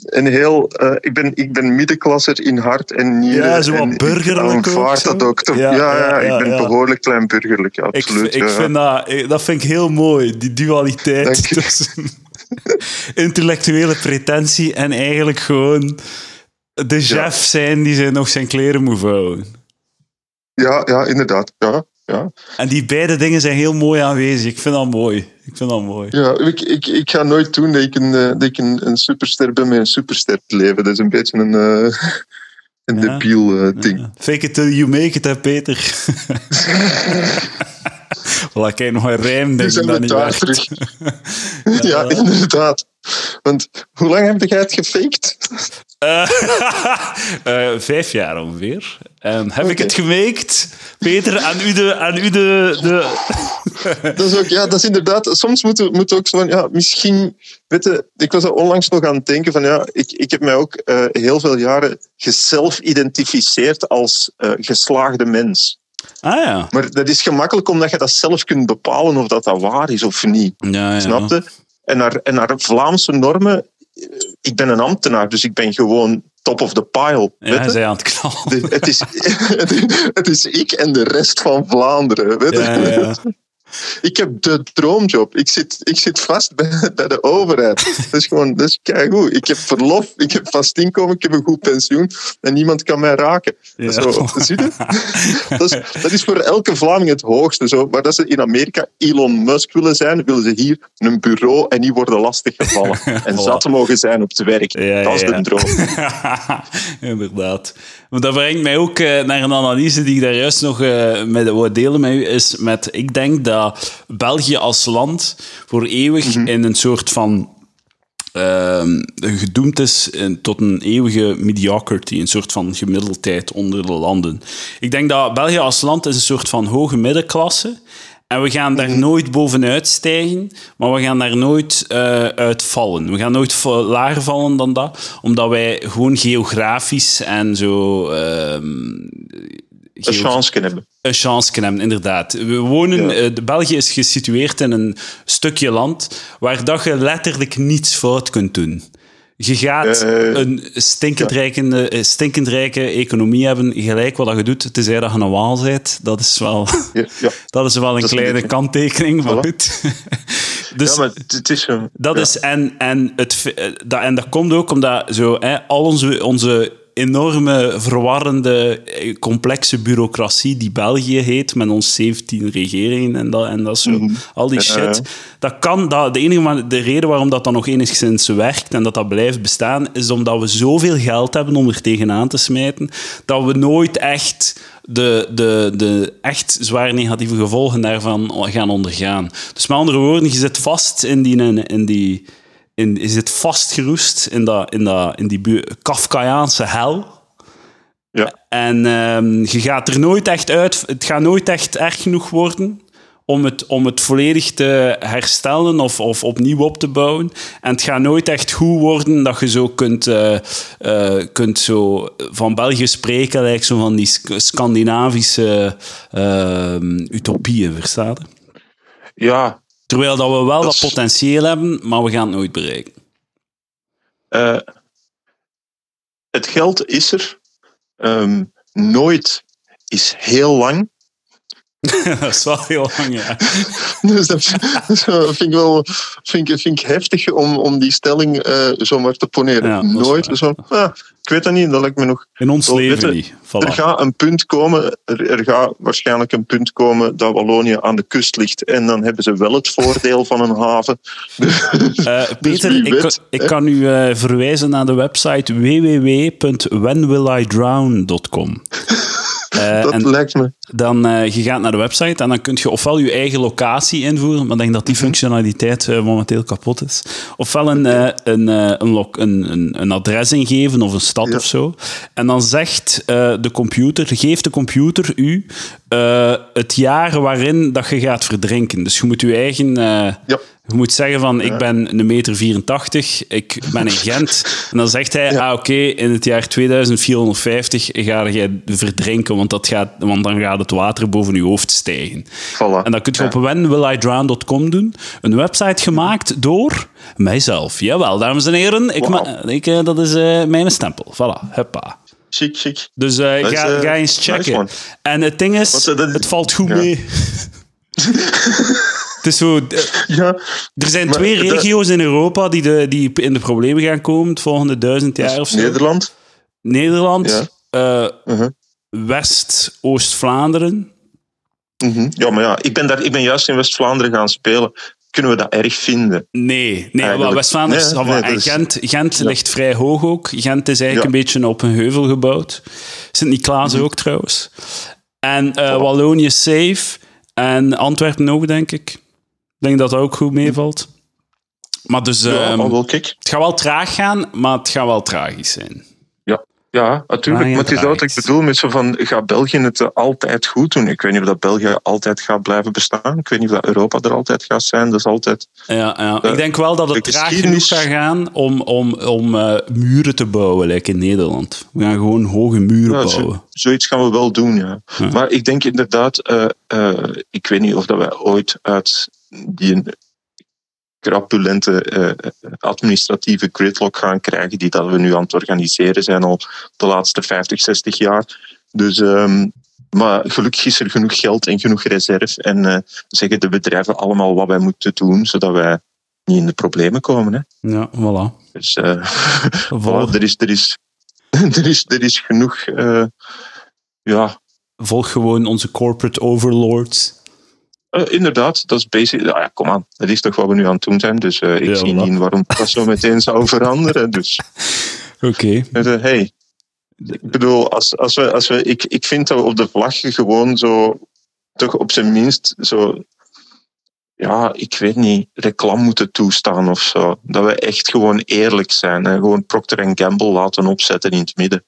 Speaker 4: een heel. eh, ik ben, ik ben middenklasser in hart en nieren.
Speaker 2: Ja, zo wat
Speaker 4: en ik
Speaker 2: burgerlijk ook,
Speaker 4: aanvaard
Speaker 2: zo.
Speaker 4: dat ook. te-
Speaker 2: Ja,
Speaker 4: Ja, ja,
Speaker 2: ja, ja,
Speaker 4: ik ben
Speaker 2: ja.
Speaker 4: behoorlijk klein burgerlijk,
Speaker 2: Ik,
Speaker 4: absoluut.
Speaker 2: ik
Speaker 4: ja.
Speaker 2: vind dat, eh, dat vind ik heel mooi, die dualiteit
Speaker 4: Dank je.
Speaker 2: tussen (laughs) intellectuele pretentie en eigenlijk gewoon de chef zijn die zijn nog zijn kleren moet vouwen.
Speaker 4: Ja, ja, inderdaad. Ja, ja.
Speaker 2: En die beide dingen zijn heel mooi aanwezig. Ik vind dat mooi. Ik vind dat mooi.
Speaker 4: ja ik, ik, ik ga nooit doen dat ik een, eh, dat ik een, een superster ben met een superster leven. Dat is een beetje een, eh, een
Speaker 2: Ja.
Speaker 4: debiel eh, ding.
Speaker 2: Fake it till you make it, hè, Peter.
Speaker 4: (laughs)
Speaker 2: Voilà, kijk, nog een rijm
Speaker 4: Nu
Speaker 2: denk ik
Speaker 4: zijn
Speaker 2: dat
Speaker 4: we
Speaker 2: niet
Speaker 4: daar
Speaker 2: werkt.
Speaker 4: terug.
Speaker 2: (laughs)
Speaker 4: Ja, inderdaad. Want hoe lang heb jij het gefaked?
Speaker 2: Eh, (laughs) eh, vijf jaar ongeveer. En heb ik
Speaker 4: Oké.
Speaker 2: het gemaakt? Peter, aan u de... Aan u de, de...
Speaker 4: Dat is ook, ja, dat is inderdaad. Soms moet, moet ook zo van, ja, misschien. Weet je, ik was er onlangs nog aan het denken van, ja, ik, ik heb mij ook eh, heel veel jaren geself-identificeerd als eh, geslaagde mens.
Speaker 2: Ah ja.
Speaker 4: Maar dat is gemakkelijk omdat je dat zelf kunt bepalen of dat, dat waar is of niet.
Speaker 2: ja, ja.
Speaker 4: Snapte? En naar, en naar Vlaamse normen, eh, ik ben een ambtenaar, dus ik ben gewoon top of the pile.
Speaker 2: Ja,
Speaker 4: weet
Speaker 2: hij
Speaker 4: je?
Speaker 2: zei aan het knallen.
Speaker 4: De- het, is, (laughs) het is ik en de rest van Vlaanderen. Weet je?
Speaker 2: Ja, ja, ja.
Speaker 4: Ik heb de droomjob. Ik zit, ik zit vast bij, (laughs) bij de overheid. Dat is gewoon, dat is keigoed. Ik heb verlof, ik heb vast inkomen, ik heb een goed pensioen en niemand kan mij raken.
Speaker 2: Ja. (laughs)
Speaker 4: Zo, zie je? Dat is, dat is voor elke Vlaming het hoogste. Zo. Maar dat ze in Amerika Elon Musk willen zijn, willen ze hier een bureau en die worden
Speaker 2: (laughs)
Speaker 4: lastiggevallen. En
Speaker 2: Voilà.
Speaker 4: zat mogen zijn op het werk.
Speaker 2: Ja,
Speaker 4: dat is
Speaker 2: ja, ja.
Speaker 4: de droom.
Speaker 2: (laughs) Inderdaad. Maar dat brengt mij ook eh, naar een analyse die ik daar juist nog eh, met wou delen met u. Is met, ik denk dat België als land voor eeuwig in een soort van ehm, gedoemd is in- tot een eeuwige mediocrity, een soort van gemiddeldheid onder de landen. Ik denk dat België als land is een soort van hoge middenklasse. En we gaan daar nooit bovenuit stijgen, maar we gaan daar nooit eh uitvallen. We gaan nooit va- lager vallen dan dat, omdat wij gewoon geografisch en zo... ehm,
Speaker 4: Een
Speaker 2: geo-
Speaker 4: chance kunnen hebben.
Speaker 2: een chance kunnen hebben, inderdaad. We wonen, eh, de- België is gesitueerd in een stukje land waar dat je letterlijk niets fout kunt doen. Je gaat
Speaker 4: Eh,
Speaker 2: een stinkend, rijkende- eh, stinkend rijke economie hebben, gelijk wat dat je doet, tenzij dat je een waal bent. Dat is wel,
Speaker 4: Ja, ja.
Speaker 2: (laughs) dat is wel een
Speaker 4: is een
Speaker 2: kleine
Speaker 4: beetje-
Speaker 2: kanttekening, maar
Speaker 4: Voilà.
Speaker 2: goed. (laughs) Dus
Speaker 4: ja, maar het- het is een,
Speaker 2: dat
Speaker 4: ja.
Speaker 2: is en, en, het, fe- eh, dat, en dat komt ook omdat zo, hè, al onze, onze enorme, verwarrende, eh, complexe bureaucratie die België heet, met ons 17 regeringen en dat, en dat zo, al die shit.
Speaker 4: Mhm. ja.
Speaker 2: Dat kan, dat, de enige ma- de reden waarom dat dan nog enigszins werkt en dat dat blijft bestaan, is omdat we zoveel geld hebben om er tegenaan te smijten, dat we nooit echt de, de, de echt zwaar negatieve gevolgen daarvan gaan ondergaan. Dus met andere woorden, je zit vast in die... In die in, je zit vastgeroest in, dat, in, dat, in die bu- Kafkaiaanse hel.
Speaker 4: Ja.
Speaker 2: En ehm, je gaat er nooit echt uit. Het gaat nooit echt erg genoeg worden om het, om het volledig te herstellen of, of opnieuw op te bouwen. En het gaat nooit echt goed worden dat je zo kunt, eh, eh, kunt zo van België spreken, lijkt zo van die Sc- Scandinavische ehm, utopieën, verstaat? je?
Speaker 4: Ja,
Speaker 2: Terwijl dat we wel dat,
Speaker 4: Dat is-
Speaker 2: potentieel hebben, maar we gaan het nooit bereiken.
Speaker 4: Eh, het geld is er. Ehm, nooit is heel lang.
Speaker 2: (laughs)
Speaker 4: (laughs)
Speaker 2: dat is wel heel lang, ja.
Speaker 4: Dus dat dus (laughs) dat vind ik wel vind ik, vind ik heftig om, om die stelling eh, zomaar te poneren.
Speaker 2: Ja, dat is
Speaker 4: nooit.
Speaker 2: waar.
Speaker 4: Zo, ah, ik weet dat niet, dat lijkt me nog
Speaker 2: In ons
Speaker 4: Oh,
Speaker 2: leven
Speaker 4: witte.
Speaker 2: niet.
Speaker 4: Er
Speaker 2: Voilà.
Speaker 4: gaat een punt komen, er, er gaat waarschijnlijk een punt komen dat Wallonië aan de kust ligt. En dan hebben ze wel het voordeel van een haven. (laughs) Dus
Speaker 2: Eh, Peter,
Speaker 4: wie
Speaker 2: ik,
Speaker 4: weet,
Speaker 2: ik kan u eh, verwijzen naar de website www.whenwillidrown.com. Eh,
Speaker 4: Dat
Speaker 2: en
Speaker 4: lijkt me.
Speaker 2: dan eh, je gaat naar de website en dan kun je ofwel je eigen locatie invoeren, maar ik denk dat die functionaliteit eh, momenteel kapot is. Ofwel een, eh, een, eh, een, lo- een, een, een adres ingeven of een stad of zo. En dan zegt eh, de computer, geeft de computer u eh, het jaar waarin dat je gaat verdrinken. Dus je moet je eigen. eh,
Speaker 4: Ja.
Speaker 2: je moet zeggen van, ik ben een meter 84, ik ben in Gent. En dan zegt hij, ah oké, in het jaar 2450 ga jij verdrinken, want, dat gaat, want dan gaat het water boven je hoofd stijgen.
Speaker 5: Voilà.
Speaker 2: En dat kun je op whenwillidrown.com doen. Een website gemaakt door mijzelf. Jawel, dames en heren, ik ma- ik, eh, dat is eh, mijn stempel. Voilà, huppa.
Speaker 4: Chic, chic.
Speaker 2: Dus eh,
Speaker 4: Dat is,
Speaker 2: ga,
Speaker 4: eh,
Speaker 2: ga eens
Speaker 4: nice
Speaker 2: checken.
Speaker 4: one.
Speaker 2: en het ding is,
Speaker 4: Want, eh, dat is-
Speaker 2: het valt goed
Speaker 4: ja.
Speaker 2: mee.
Speaker 4: (laughs)
Speaker 2: het is zo... eh,
Speaker 4: Ja,
Speaker 2: er zijn
Speaker 4: Maar
Speaker 2: twee
Speaker 4: dat-
Speaker 2: regio's in Europa die, de, die in de problemen gaan komen het volgende duizend jaar of zo.
Speaker 4: Dus Nederland.
Speaker 2: Nederland, eh,
Speaker 4: Mhm.
Speaker 2: West, Oost-Vlaanderen.
Speaker 4: Mhm. Ja, maar ja, ik ben, daar, ik ben juist in West-Vlaanderen gaan spelen. Kunnen we dat erg vinden?
Speaker 2: Nee, nee
Speaker 4: Eigenlijk-
Speaker 2: maar West-Vlaanderen is-
Speaker 4: Nee, nee, dat
Speaker 2: en
Speaker 4: is-
Speaker 2: Gent, Gent ligt vrij hoog ook. Gent is eigenlijk
Speaker 4: Ja. Mhm.
Speaker 2: een beetje op een heuvel gebouwd. Sint-Niklaas ook trouwens. En eh, Wallonië safe. En Antwerpen ook, denk ik. Ik denk dat dat ook goed meevalt. Maar dus,
Speaker 4: Ja,
Speaker 2: ehm,
Speaker 4: oh, wel, kijk.
Speaker 2: het gaat wel traag gaan, maar het gaat wel tragisch zijn.
Speaker 5: Ja, natuurlijk.
Speaker 2: Maar
Speaker 5: Maar het is dat wat ik
Speaker 2: inderdaad.
Speaker 5: bedoel.
Speaker 4: bedoel met zo van, gaat België het eh, altijd goed doen? Ik weet niet of dat België altijd gaat blijven bestaan. Ik weet niet of dat Europa er altijd gaat zijn. Dat is altijd...
Speaker 2: Ja, ja.
Speaker 4: Eh,
Speaker 2: ik denk wel dat het
Speaker 4: de
Speaker 2: traag genoeg
Speaker 4: geschiedenis-
Speaker 2: gaat gaan om, om, om eh, muren te bouwen, like in Nederland. We gaan gewoon hoge muren
Speaker 4: Ja, zo-
Speaker 2: bouwen.
Speaker 4: zoiets gaan we wel doen, ja.
Speaker 2: Ja.
Speaker 4: Maar ik denk inderdaad, eh, eh, ik weet niet of dat wij ooit uit die crapulente eh, administratieve gridlock gaan krijgen die dat we nu aan het organiseren zijn al de laatste 50, 60 jaar. Dus, ehm, maar gelukkig is er genoeg geld en genoeg reserve en eh, zeggen de bedrijven allemaal wat wij moeten doen, zodat wij niet in de problemen komen. Hè.
Speaker 2: Ja, voilà.
Speaker 4: Dus eh,
Speaker 2: Vol-
Speaker 4: voilà, (laughs) er, is, er, is, er, is, er is genoeg... eh, ja,
Speaker 2: volg gewoon onze corporate overlords.
Speaker 4: Eh, inderdaad, dat is basic. Nou ja, kom aan. Dat is toch wat we nu aan het doen zijn. Dus eh, ik
Speaker 2: Ja,
Speaker 4: zie
Speaker 2: voilà.
Speaker 4: niet waarom dat zo meteen zou (laughs) veranderen. Dus
Speaker 2: Oké.
Speaker 4: eh, hey. Ik bedoel, als, als we, als we, ik, ik vind dat we op de vlag gewoon zo, toch op zijn minst zo, ja, ik weet niet, reclame moeten toestaan of zo. Dat we echt gewoon eerlijk zijn en gewoon Procter Gamble laten opzetten in het midden.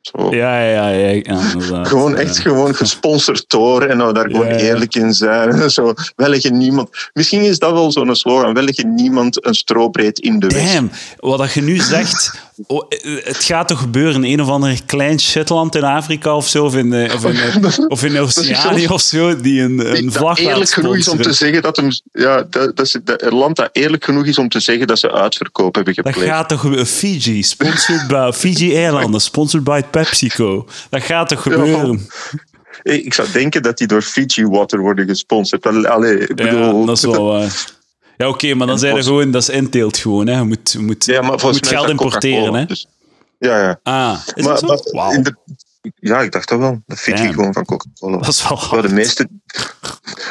Speaker 4: Zo.
Speaker 2: Ja, ja, ja. ja, ja, inderdaad.
Speaker 4: Gewoon
Speaker 2: Ja.
Speaker 4: echt gewoon gesponsord door en nou daar gewoon
Speaker 2: Ja, ja.
Speaker 4: eerlijk in zijn. (laughs) Zo, welke niemand. Misschien is dat wel zo'n slogan. Welke niemand een strobreed in de weg.
Speaker 2: Damn, wat dat je nu zegt, (laughs) oh, eh, het gaat toch gebeuren in een of ander klein shitland in Afrika of zo, of in, eh, of in, eh, of in Oceanië of zo, die een, een
Speaker 5: Dat
Speaker 2: vlag laat
Speaker 5: eerlijk genoeg is om te
Speaker 2: sponsoren.
Speaker 5: zeggen dat, hem, ja, dat, dat, ze- dat een land dat eerlijk genoeg is om te zeggen dat ze uitverkoop hebben
Speaker 2: Dat
Speaker 5: gepleegd.
Speaker 2: gaat toch gebeuren? Fiji, sponsored
Speaker 4: (laughs)
Speaker 2: by Fiji-eilanden, sponsored by PepsiCo. Dat gaat toch gebeuren?
Speaker 4: Ik ik zou denken dat die door Fiji Water worden gesponsord. Al- Allee, ik
Speaker 2: Ja,
Speaker 4: bedoel,
Speaker 2: dat is wel waar. Ja, oké, maar dan zijn er
Speaker 4: volgens-
Speaker 2: gewoon, dat is inteelt gewoon, hè. Je moet, je moet,
Speaker 4: Ja, maar
Speaker 2: je
Speaker 4: volgens
Speaker 2: moet
Speaker 4: mij is
Speaker 2: geld
Speaker 4: dat
Speaker 2: importeren,
Speaker 4: Coca-Cola,
Speaker 2: hè.
Speaker 4: dus- ja, ja.
Speaker 2: Ah, is dat
Speaker 4: Maar,
Speaker 2: zo?
Speaker 4: maar
Speaker 2: Wauw,
Speaker 4: inder- ja, ik dacht dat wel. Dat Fiji
Speaker 2: Damn.
Speaker 4: gewoon van Coca-Cola.
Speaker 2: dat is wel
Speaker 4: Maar
Speaker 2: hard.
Speaker 4: de meeste,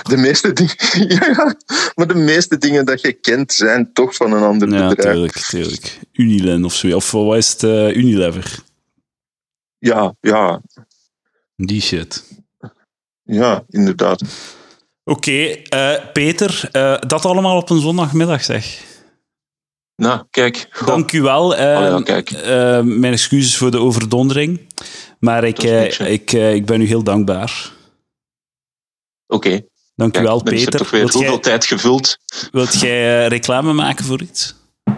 Speaker 4: de meeste dingen, (laughs) ja, ja. maar de meeste dingen dat je kent zijn toch van een ander
Speaker 2: Ja,
Speaker 4: bedrijf.
Speaker 2: tuurlijk, tuurlijk. Unilen of zo. Of wat is het? eh, Unilever.
Speaker 4: Ja, ja,
Speaker 2: Die shit.
Speaker 4: ja, inderdaad.
Speaker 2: Oké, eh, Peter, eh, dat allemaal op een zondagmiddag, zeg.
Speaker 4: Nou, kijk. goh.
Speaker 2: Dank u wel. eh,
Speaker 4: Oh ja, kijk.
Speaker 2: eh, mijn excuses voor de overdondering. Maar ik,
Speaker 4: Dat is
Speaker 2: eh,
Speaker 4: niks, hè.
Speaker 2: ik, eh, ik ben u heel dankbaar.
Speaker 4: Oké,
Speaker 2: Dank u
Speaker 4: kijk,
Speaker 2: wel,
Speaker 4: dan is er
Speaker 2: Peter.
Speaker 4: toch weer
Speaker 2: Wilt
Speaker 4: hoeveel
Speaker 2: jij,
Speaker 4: tijd gevuld.
Speaker 2: (laughs) wilt jij eh, reclame maken voor iets?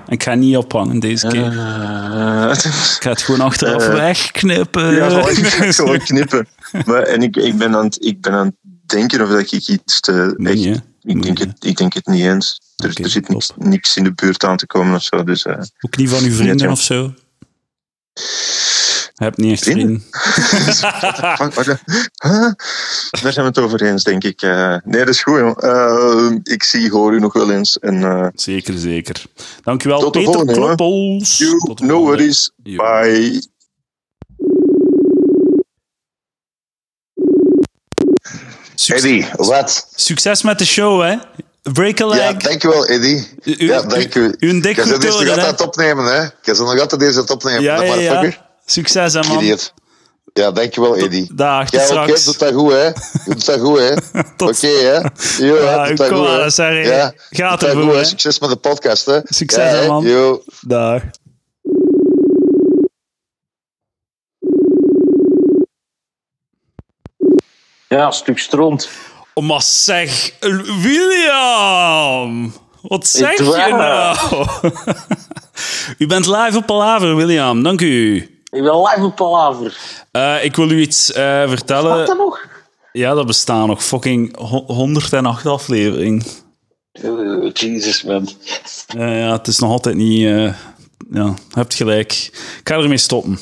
Speaker 2: Ik ga niet ophangen deze keer.
Speaker 4: Eh,
Speaker 2: Ik ga het gewoon achteraf
Speaker 4: eh,
Speaker 2: wegknippen.
Speaker 4: (laughs) ja,
Speaker 2: (laughs)
Speaker 4: zal ik het gewoon (laughs) knippen. Maar, en ik, ik, ben aan het, ik ben aan het denken of dat ik iets te...
Speaker 2: Moet
Speaker 4: echt,
Speaker 2: niet, hè?
Speaker 4: ik, denk
Speaker 2: Moet
Speaker 4: het, ik denk het niet eens.
Speaker 6: Er,
Speaker 2: Oké,
Speaker 6: er zit niks,
Speaker 2: top.
Speaker 6: niks in de buurt aan te komen of zo. Dus, eh,
Speaker 2: Ook niet van uw
Speaker 6: Net,
Speaker 2: vrienden
Speaker 6: ja.
Speaker 2: of zo? Je hebt niet echt
Speaker 6: Vrienden?
Speaker 2: vrienden.
Speaker 6: fuck, wat, eh, huh? Daar zijn we het over eens, denk ik. Eh, nee, dat is goed. joh. Eh, ik zie, hoor u nog wel eens. En, eh,
Speaker 2: Zeker, zeker. Dankjewel,
Speaker 6: Tot de
Speaker 2: Peter
Speaker 6: volgende, hoor.
Speaker 2: Kloppels.
Speaker 6: you,
Speaker 2: Tot de
Speaker 6: no
Speaker 2: volgende.
Speaker 6: worries.
Speaker 2: Yo.
Speaker 6: Bye.
Speaker 2: Succes-
Speaker 3: Eddie, wat?
Speaker 2: Succes met de show, hè. Break a
Speaker 3: Ja,
Speaker 2: leg.
Speaker 3: dankjewel, Eddie.
Speaker 2: U-
Speaker 3: ja,
Speaker 2: u-
Speaker 3: dank u.
Speaker 2: u een dik
Speaker 3: Je bent
Speaker 2: goed
Speaker 3: deze
Speaker 2: horen,
Speaker 3: dus nog
Speaker 2: hè?
Speaker 3: altijd opnemen, hè? Je bent nog altijd deze opnemen.
Speaker 2: ja,
Speaker 3: dat
Speaker 2: ja, ja.
Speaker 3: motherfucker.
Speaker 2: Succes, hè, man.
Speaker 3: Idiot. Ja, dankjewel, Eddie.
Speaker 2: Dag, tot
Speaker 3: Ja, oké,
Speaker 2: (laughs) straks.
Speaker 3: doet dat goed, hè? Doet dat goed, hè?
Speaker 2: (laughs)
Speaker 3: Oké, hè? Jo,
Speaker 2: Ja,
Speaker 3: hè, doet dat
Speaker 2: kom
Speaker 3: goed,
Speaker 2: aan,
Speaker 3: hè?
Speaker 2: sorry.
Speaker 3: Ja,
Speaker 2: Gaat
Speaker 3: doet dat
Speaker 2: ervoor,
Speaker 3: goed, hè?
Speaker 2: hè?
Speaker 3: Succes met de podcast, hè?
Speaker 2: Succes,
Speaker 3: Ja,
Speaker 2: hè, man.
Speaker 3: Jo.
Speaker 2: Dag.
Speaker 7: Ja, een stuk stront.
Speaker 2: Oh, Maar zeg, William! Wat zeg je
Speaker 7: Edouard.
Speaker 2: nou? (laughs) u bent live op Palaver, William. Dank u.
Speaker 7: Ik ben live op Palaver.
Speaker 2: Eh, ik wil u iets eh,
Speaker 7: Wat
Speaker 2: vertellen.
Speaker 7: dan nog?
Speaker 2: Ja, dat bestaan nog fucking ho- 108 aflevering.
Speaker 7: Oh, Jesus, man.
Speaker 2: Ja, ja, het is nog altijd niet... eh, ja, hebt gelijk. Ik ga ermee stoppen.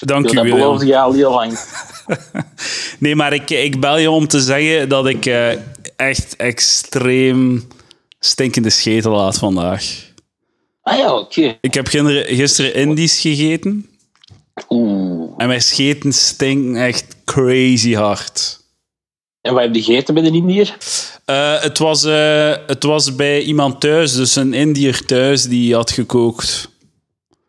Speaker 2: Dank
Speaker 7: Ja,
Speaker 2: u,
Speaker 7: dat
Speaker 2: William.
Speaker 7: beloofde je al heel lang.
Speaker 2: Nee, maar ik, ik bel je om te zeggen dat ik eh, echt extreem stinkende scheten laat vandaag.
Speaker 7: Ah ja, oké.
Speaker 2: Ik heb ginder- gisteren Indisch gegeten.
Speaker 7: Oeh.
Speaker 2: En mijn scheten stinken echt crazy hard.
Speaker 7: En wat heb je gegeten bij de Indiër?
Speaker 2: Eh, het, was, eh, het was bij iemand thuis, dus een Indiër thuis, die had gekookt.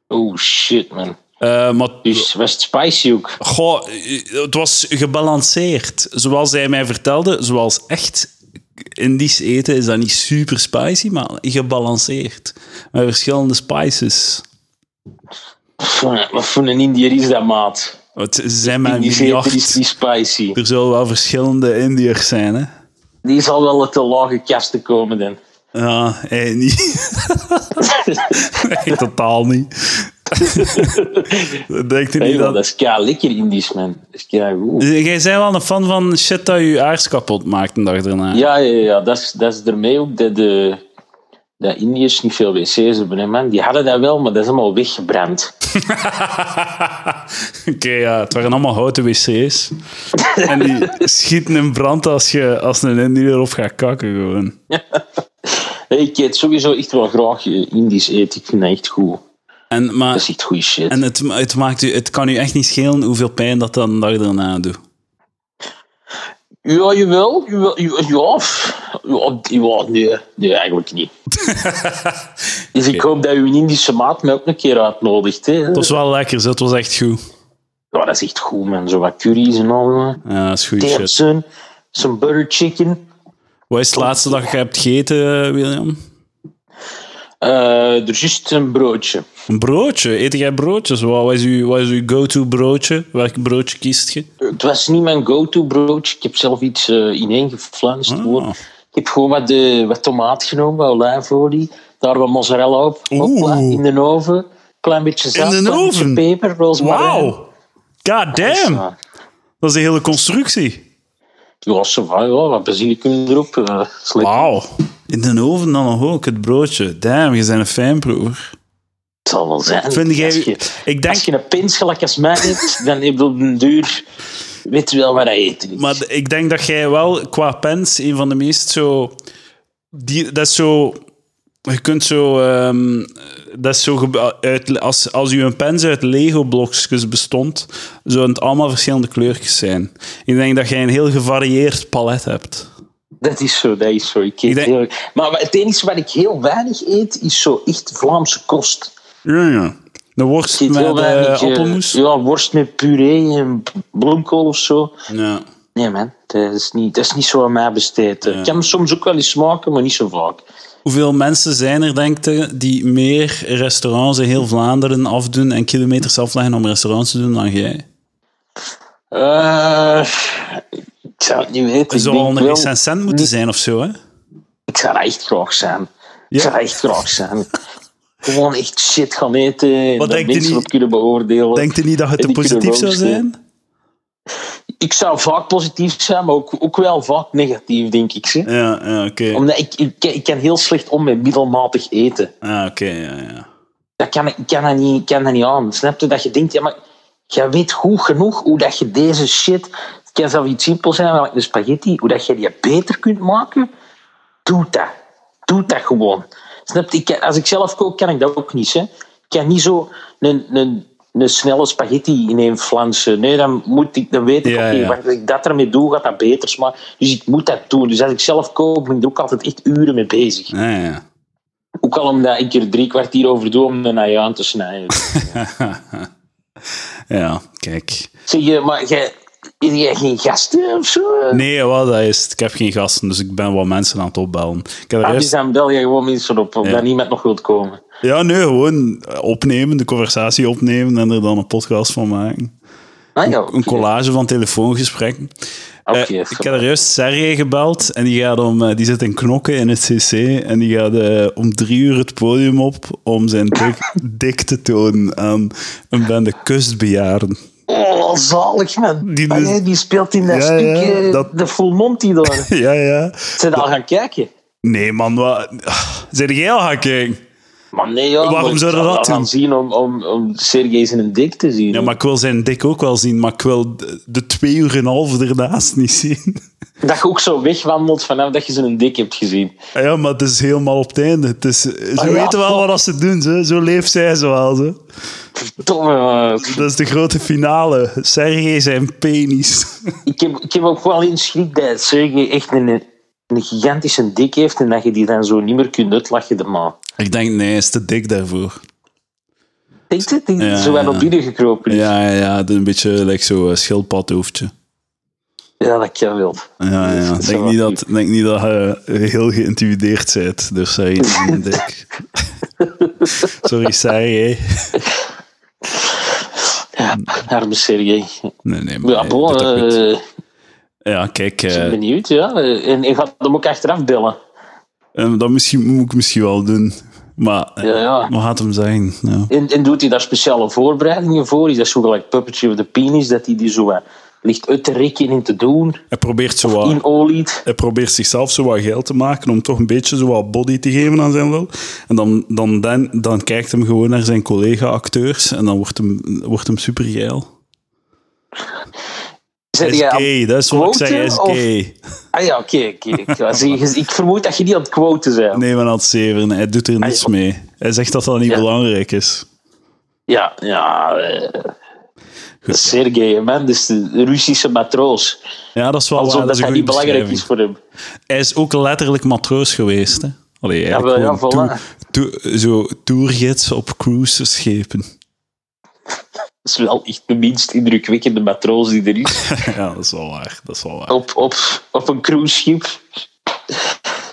Speaker 7: Oh, shit, man.
Speaker 2: Eh, maar
Speaker 7: Dus was het spicy ook?
Speaker 2: goh, eh, het was gebalanceerd. Zoals hij mij vertelde, zoals echt Indisch eten is dat niet super spicy, maar gebalanceerd. Met verschillende spices.
Speaker 7: Pff, Wat voor een Indiër is dat, maat?
Speaker 2: Het zijn maar een
Speaker 7: Die zeker is
Speaker 2: miljard.
Speaker 7: die spicy.
Speaker 2: Er zullen wel verschillende Indiërs zijn, hè?
Speaker 7: Die zal wel uit de lage kasten
Speaker 2: (laughs)
Speaker 7: komen, dan.
Speaker 2: Ja, hij niet. (laughs) Nee, totaal
Speaker 7: (laughs)
Speaker 2: niet. dat denkt u
Speaker 7: Hey,
Speaker 2: niet
Speaker 7: man, dat
Speaker 2: dat...
Speaker 7: is kei lekker Indisch, man. Dat is kei goed.
Speaker 2: Jij bent wel een fan van shit dat je aars kapot maakt een dag daarna.
Speaker 7: Ja, ja, ja. Dat is, dat is ermee ook dat de... Dat Indiërs niet veel wc's hebben, hè, man. Die hadden dat wel, maar dat is allemaal weggebrand.
Speaker 2: (laughs) Oké, ja, het waren allemaal houten wc's. En die schieten in brand als, je, als een Indiër erop gaat kakken gewoon.
Speaker 7: Hey, ik eet sowieso echt wel graag eh, Indisch eten. Ik vind dat echt goed.
Speaker 2: En,
Speaker 7: Dat
Speaker 2: maar,
Speaker 7: is echt goede shit.
Speaker 2: en het, het, maakt u, het kan u echt niet schelen hoeveel pijn dat dan een dag daarna doet.
Speaker 7: Ja, jawel. jawel, jawel, Ja, pff, ja, ja, nee, nee, eigenlijk
Speaker 2: (laughs)
Speaker 7: niet. dus ik hoop dat u een Indische maat mij ook een keer uitnodigt. Hè.
Speaker 2: Het was wel lekker, zo, het was echt goed.
Speaker 7: Ja, dat is echt goed, man. Zo wat curry's en al. eh. man.
Speaker 2: Ja, dat is goede
Speaker 7: Damn,
Speaker 2: shit.
Speaker 7: son. Some butter chicken.
Speaker 2: Wat is het laatste dat je hebt gegeten, eh, William?
Speaker 7: Eh, er is juist een broodje.
Speaker 2: Een broodje? Eet jij broodjes? Wat wat is uw, wat is uw go-to broodje? Welk broodje kiest je?
Speaker 7: Het was niet mijn go-to broodje. Ik heb zelf iets eh ineengeflanst. gewoon.
Speaker 2: Ah.
Speaker 7: Ik heb gewoon wat, eh, wat tomaat genomen, wat olijfolie. Daar wat mozzarella op. Hopla,
Speaker 2: Oeh.
Speaker 7: in de oven. Klein beetje zout,
Speaker 2: de
Speaker 7: klein
Speaker 2: oven?
Speaker 7: beetje peper, rozemarijn.
Speaker 2: Wauw! God damn!
Speaker 7: Ja,
Speaker 2: Dat is de hele constructie.
Speaker 7: ja, ça va, ja, wat basilicum erop. eh, is lekker.
Speaker 2: Wauw. In de oven dan nog ook, het broodje. Damn, je bent een fijnproever.
Speaker 7: Het zal wel zijn.
Speaker 2: Vind jij-
Speaker 7: Als je,
Speaker 2: ik denk-
Speaker 7: als je een pins gelijk als mij hebt, dan heb je op den duur... Weet je wel wat hij eet.
Speaker 2: Maar d- ik denk dat jij wel qua pens een van de meest zo... Die, dat is zo... Je kunt zo... ehm, dat is zo ge- uit, als, als je een pens uit Lego-blokjes bestond, zouden het allemaal verschillende kleurtjes zijn. Ik denk dat jij een heel gevarieerd palet hebt.
Speaker 7: Dat is zo, dat is zo. Ik eet
Speaker 2: Ik denk-
Speaker 7: heel... Maar het enige wat ik heel weinig eet, is zo echt Vlaamse kost.
Speaker 2: Ja, ja. De
Speaker 7: Ik
Speaker 2: worst
Speaker 7: eet
Speaker 2: met
Speaker 7: heel
Speaker 2: eh,
Speaker 7: weinig... eh,
Speaker 2: appelmoes.
Speaker 7: ja, worst met puree en b- bloemkool of zo.
Speaker 2: Ja.
Speaker 7: Nee, man. Dat is niet, dat is niet zo aan mij besteed. Ik kan hem soms ook wel eens smaken, maar niet zo vaak.
Speaker 2: Hoeveel mensen zijn er, denk je, die meer restaurants in heel Vlaanderen afdoen en kilometers afleggen om restaurants te doen dan jij?
Speaker 7: Eh, ik zou het niet weten.
Speaker 2: Er
Speaker 7: Ik
Speaker 2: zou al
Speaker 7: denk
Speaker 2: een
Speaker 7: wel,
Speaker 2: recensent moeten zijn of zo, hè?
Speaker 7: ik zou dat echt graag zijn.
Speaker 2: Ja.
Speaker 7: Ik zou dat echt graag
Speaker 2: (laughs)
Speaker 7: zijn. Gewoon echt shit gaan eten en
Speaker 2: Wat
Speaker 7: daar
Speaker 2: denkt u
Speaker 7: mensen
Speaker 2: niet-
Speaker 7: op kunnen beoordelen.
Speaker 2: Denkt u niet dat het te
Speaker 7: En die kunnen
Speaker 2: positief zou
Speaker 7: roasten.
Speaker 2: zijn?
Speaker 7: ik zou vaak positief zijn, maar ook, ook wel vaak negatief, denk ik. Hè?
Speaker 2: Ja, ja oké.
Speaker 7: Omdat ik, ik, ik kan heel slecht om met middelmatig eten.
Speaker 2: Ah, oké, ja, ja.
Speaker 7: Dat kan, ik- ik kan, dat niet, ik kan dat niet aan. Snap je? Dat je denkt, ja, maar jij weet goed genoeg hoe dat je deze shit... Het kan zelfs iets simpels zijn, maar de spaghetti, hoe dat je die beter kunt maken, doe dat. Doe dat gewoon. Snap je? Ik kan- als ik zelf kook, kan ik dat ook niet. Hè? Ik kan niet zo een, een, een snelle spaghetti in één flansen. Nee, dan, moet ik, dan weet ik,
Speaker 2: Ja,
Speaker 7: oké,
Speaker 2: ja.
Speaker 7: wat ik dat ermee doe, gaat dat beter smaken. Dus ik moet dat doen. Dus als ik zelf kook, ben ik er ook altijd echt uren mee bezig.
Speaker 2: Ah, ja.
Speaker 7: Ook al omdat ik er drie kwartier over doe om een naai aan te snijden.
Speaker 2: ja, kijk.
Speaker 7: zeg je, maar jij, is jij geen gasten of zo?
Speaker 2: Nee, wat dat is het. Ik heb geen gasten, dus ik ben wat mensen aan het opbellen. Ik heb er
Speaker 7: Ah,
Speaker 2: eerst-
Speaker 7: dus dan bel je gewoon mensen op, omdat
Speaker 2: Ja.
Speaker 7: niemand nog wilt komen.
Speaker 2: Ja, nee, gewoon opnemen, de conversatie opnemen en er dan een podcast van maken.
Speaker 7: Ah, ja,
Speaker 2: Een
Speaker 7: oké. Ah,
Speaker 2: collage van telefoongesprekken.
Speaker 7: Oké,
Speaker 2: Eh, ik heb er juist Sergej gebeld en die, gaat om, eh, die zit in knokken in het CC en die gaat eh, om drie uur het podium op om zijn
Speaker 7: (laughs)
Speaker 2: dik, dik te tonen aan een bende kustbejaarden. (laughs)
Speaker 7: Oh, zalig, man.
Speaker 2: Die
Speaker 7: Die,
Speaker 2: dus-
Speaker 7: die speelt in dat
Speaker 2: Ja,
Speaker 7: stuk
Speaker 2: ja,
Speaker 7: eh,
Speaker 2: dat-
Speaker 7: de Full
Speaker 2: (laughs)
Speaker 7: Monty daar.
Speaker 2: Ja, ja.
Speaker 7: Zijn al gaan kijken?
Speaker 2: Nee, man, wat. Ah, Zijn jij al gaan kijken?
Speaker 7: Maar nee, ja,
Speaker 2: Waarom
Speaker 7: maar ik
Speaker 2: zouden we dat
Speaker 7: zou wel gaan
Speaker 2: doen?
Speaker 7: zien om, om, om Sergej zijn dik te zien.
Speaker 2: Ja, maar ik wil zijn dik ook wel zien, maar ik wil de, de twee uur en een half ernaast niet zien. (laughs)
Speaker 7: Dat je ook zo wegwandelt vanaf dat je zijn dik hebt gezien.
Speaker 2: Ah Ja, maar het is helemaal op het einde. Het is, ze
Speaker 7: Ah, ja,
Speaker 2: weten wel wat dat ze doen, ze. zo leeft zij ze wel. Ze.
Speaker 7: Verdomme, man.
Speaker 2: Dat is de grote finale. Sergej zijn penis.
Speaker 7: ik heb, ik heb ook wel eens schrik dat Sergej echt een, een gigantische dik heeft en dat je die dan zo niet meer kunt uitlachen erna.
Speaker 2: Ik denk, nee, hij is te dik daarvoor.
Speaker 7: Denk je? Die
Speaker 2: Ja,
Speaker 7: zo wel
Speaker 2: ja.
Speaker 7: op binnen gekropen is. Ja.
Speaker 2: Ja, ja, ja het is een beetje like eh, zo'n schildpadhoofdje.
Speaker 7: dat kan wel.
Speaker 2: Ja, ja.
Speaker 7: Dat
Speaker 2: Ik
Speaker 7: is
Speaker 2: denk
Speaker 7: wel
Speaker 2: niet
Speaker 7: goed.
Speaker 2: dat, denk niet dat je heel geïntimideerd bent Dus, eh, door Sergej
Speaker 7: (laughs)
Speaker 2: zijn dik. Sorry, Sergej.
Speaker 7: Ja, arme Sergej.
Speaker 2: Nee, nee, maar
Speaker 7: Ja,
Speaker 2: hij doet
Speaker 7: bon,
Speaker 2: dat goed.
Speaker 7: eh,
Speaker 2: ja kijk,
Speaker 7: ik ben
Speaker 2: eh,
Speaker 7: benieuwd, ja. Eh, En ik gaat hem ook achteraf bellen.
Speaker 2: eh, dat misschien, moet ik misschien wel doen. Maar eh,
Speaker 7: Ja, ja.
Speaker 2: wat gaat hem zijn? Ja.
Speaker 7: En, en doet hij daar speciale voorbereidingen voor? Is dat zo gelijk Puppetry of the Penis, dat hij die zo wat ligt uit te rekken en te doen?
Speaker 2: Hij probeert zo wat-
Speaker 7: In olied?
Speaker 2: hij probeert zichzelf zo wat geld te maken om toch een beetje zo wat body te geven aan zijn lul. En dan, dan, dan, dan kijkt hem gewoon naar zijn collega-acteurs en dan wordt hem, wordt hem super geil. Hij
Speaker 7: Zeg
Speaker 2: is
Speaker 7: jij aan-
Speaker 2: gay, dat is wat ik zeg, hij is
Speaker 7: quoten, of-
Speaker 2: gay.
Speaker 7: Ah ja, oké. oké. Ik wou zeggen, ik vermoed dat je niet aan het quoten bent.
Speaker 2: Nee, maar aan het zeveren, hij doet er niets
Speaker 7: Ah, ja.
Speaker 2: mee. Hij zegt dat dat niet
Speaker 7: Ja.
Speaker 2: belangrijk is.
Speaker 7: Ja, ja. eh,
Speaker 2: Goed,
Speaker 7: Sergej, man, dus de Russische matroos.
Speaker 2: Ja, dat is wel
Speaker 7: Alsof
Speaker 2: waar,
Speaker 7: dat,
Speaker 2: dat is
Speaker 7: dat
Speaker 2: een
Speaker 7: niet
Speaker 2: goede
Speaker 7: belangrijk is
Speaker 2: beschrijving.
Speaker 7: voor hem.
Speaker 2: Hij is ook letterlijk matroos geweest, hè. Allee, eigenlijk
Speaker 7: wel, ja,
Speaker 2: gewoon
Speaker 7: voilà.
Speaker 2: toe- toe- zo tourgids op cruiseschepen. (laughs)
Speaker 7: Dat is wel echt de minst indrukwekkende matroos die er is.
Speaker 2: ja, dat is wel waar, dat is wel waar.
Speaker 7: op, op, op een cruiseschip.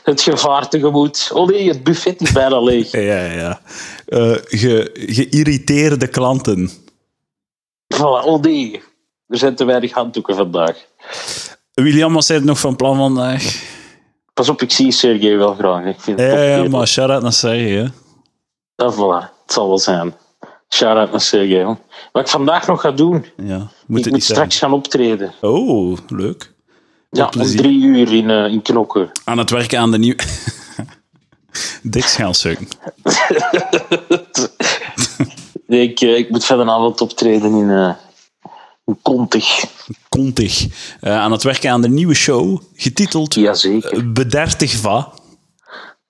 Speaker 7: Het gevaar tegemoet. Oh nee, het buffet is bijna leeg.
Speaker 2: Ja, ja, ja. Eh, ge, geïrriteerde klanten.
Speaker 7: Voilà, oh nee, er zijn te weinig handdoeken vandaag.
Speaker 2: William, wat zijn het nog van plan vandaag?
Speaker 7: Pas op, ik zie Sergej wel graag. Ik vind
Speaker 2: Ja,
Speaker 7: het
Speaker 2: ja,
Speaker 7: top,
Speaker 2: ja,
Speaker 7: kerel.
Speaker 2: maar shout-out naar Sergej, hè.
Speaker 7: Ah, voilà, het zal wel zijn. Shout-out naar Sergej. hoor. Wat ik vandaag nog ga doen,
Speaker 2: Ja, moet
Speaker 7: ik
Speaker 2: het
Speaker 7: moet
Speaker 2: niet
Speaker 7: straks gaan optreden.
Speaker 2: zeggen. Oh, leuk.
Speaker 7: Ja, om
Speaker 2: plezier.
Speaker 7: drie uur in, eh, in Knokken.
Speaker 2: Aan het werken aan de nieuwe... (laughs) Dikschaalstuk.
Speaker 7: Nee, ik, eh, ik moet verder avond optreden in, eh in Kontig.
Speaker 2: Kontig. Eh, aan het werken aan de nieuwe show, getiteld
Speaker 7: Jazeker.
Speaker 2: eh, Bedertig Va.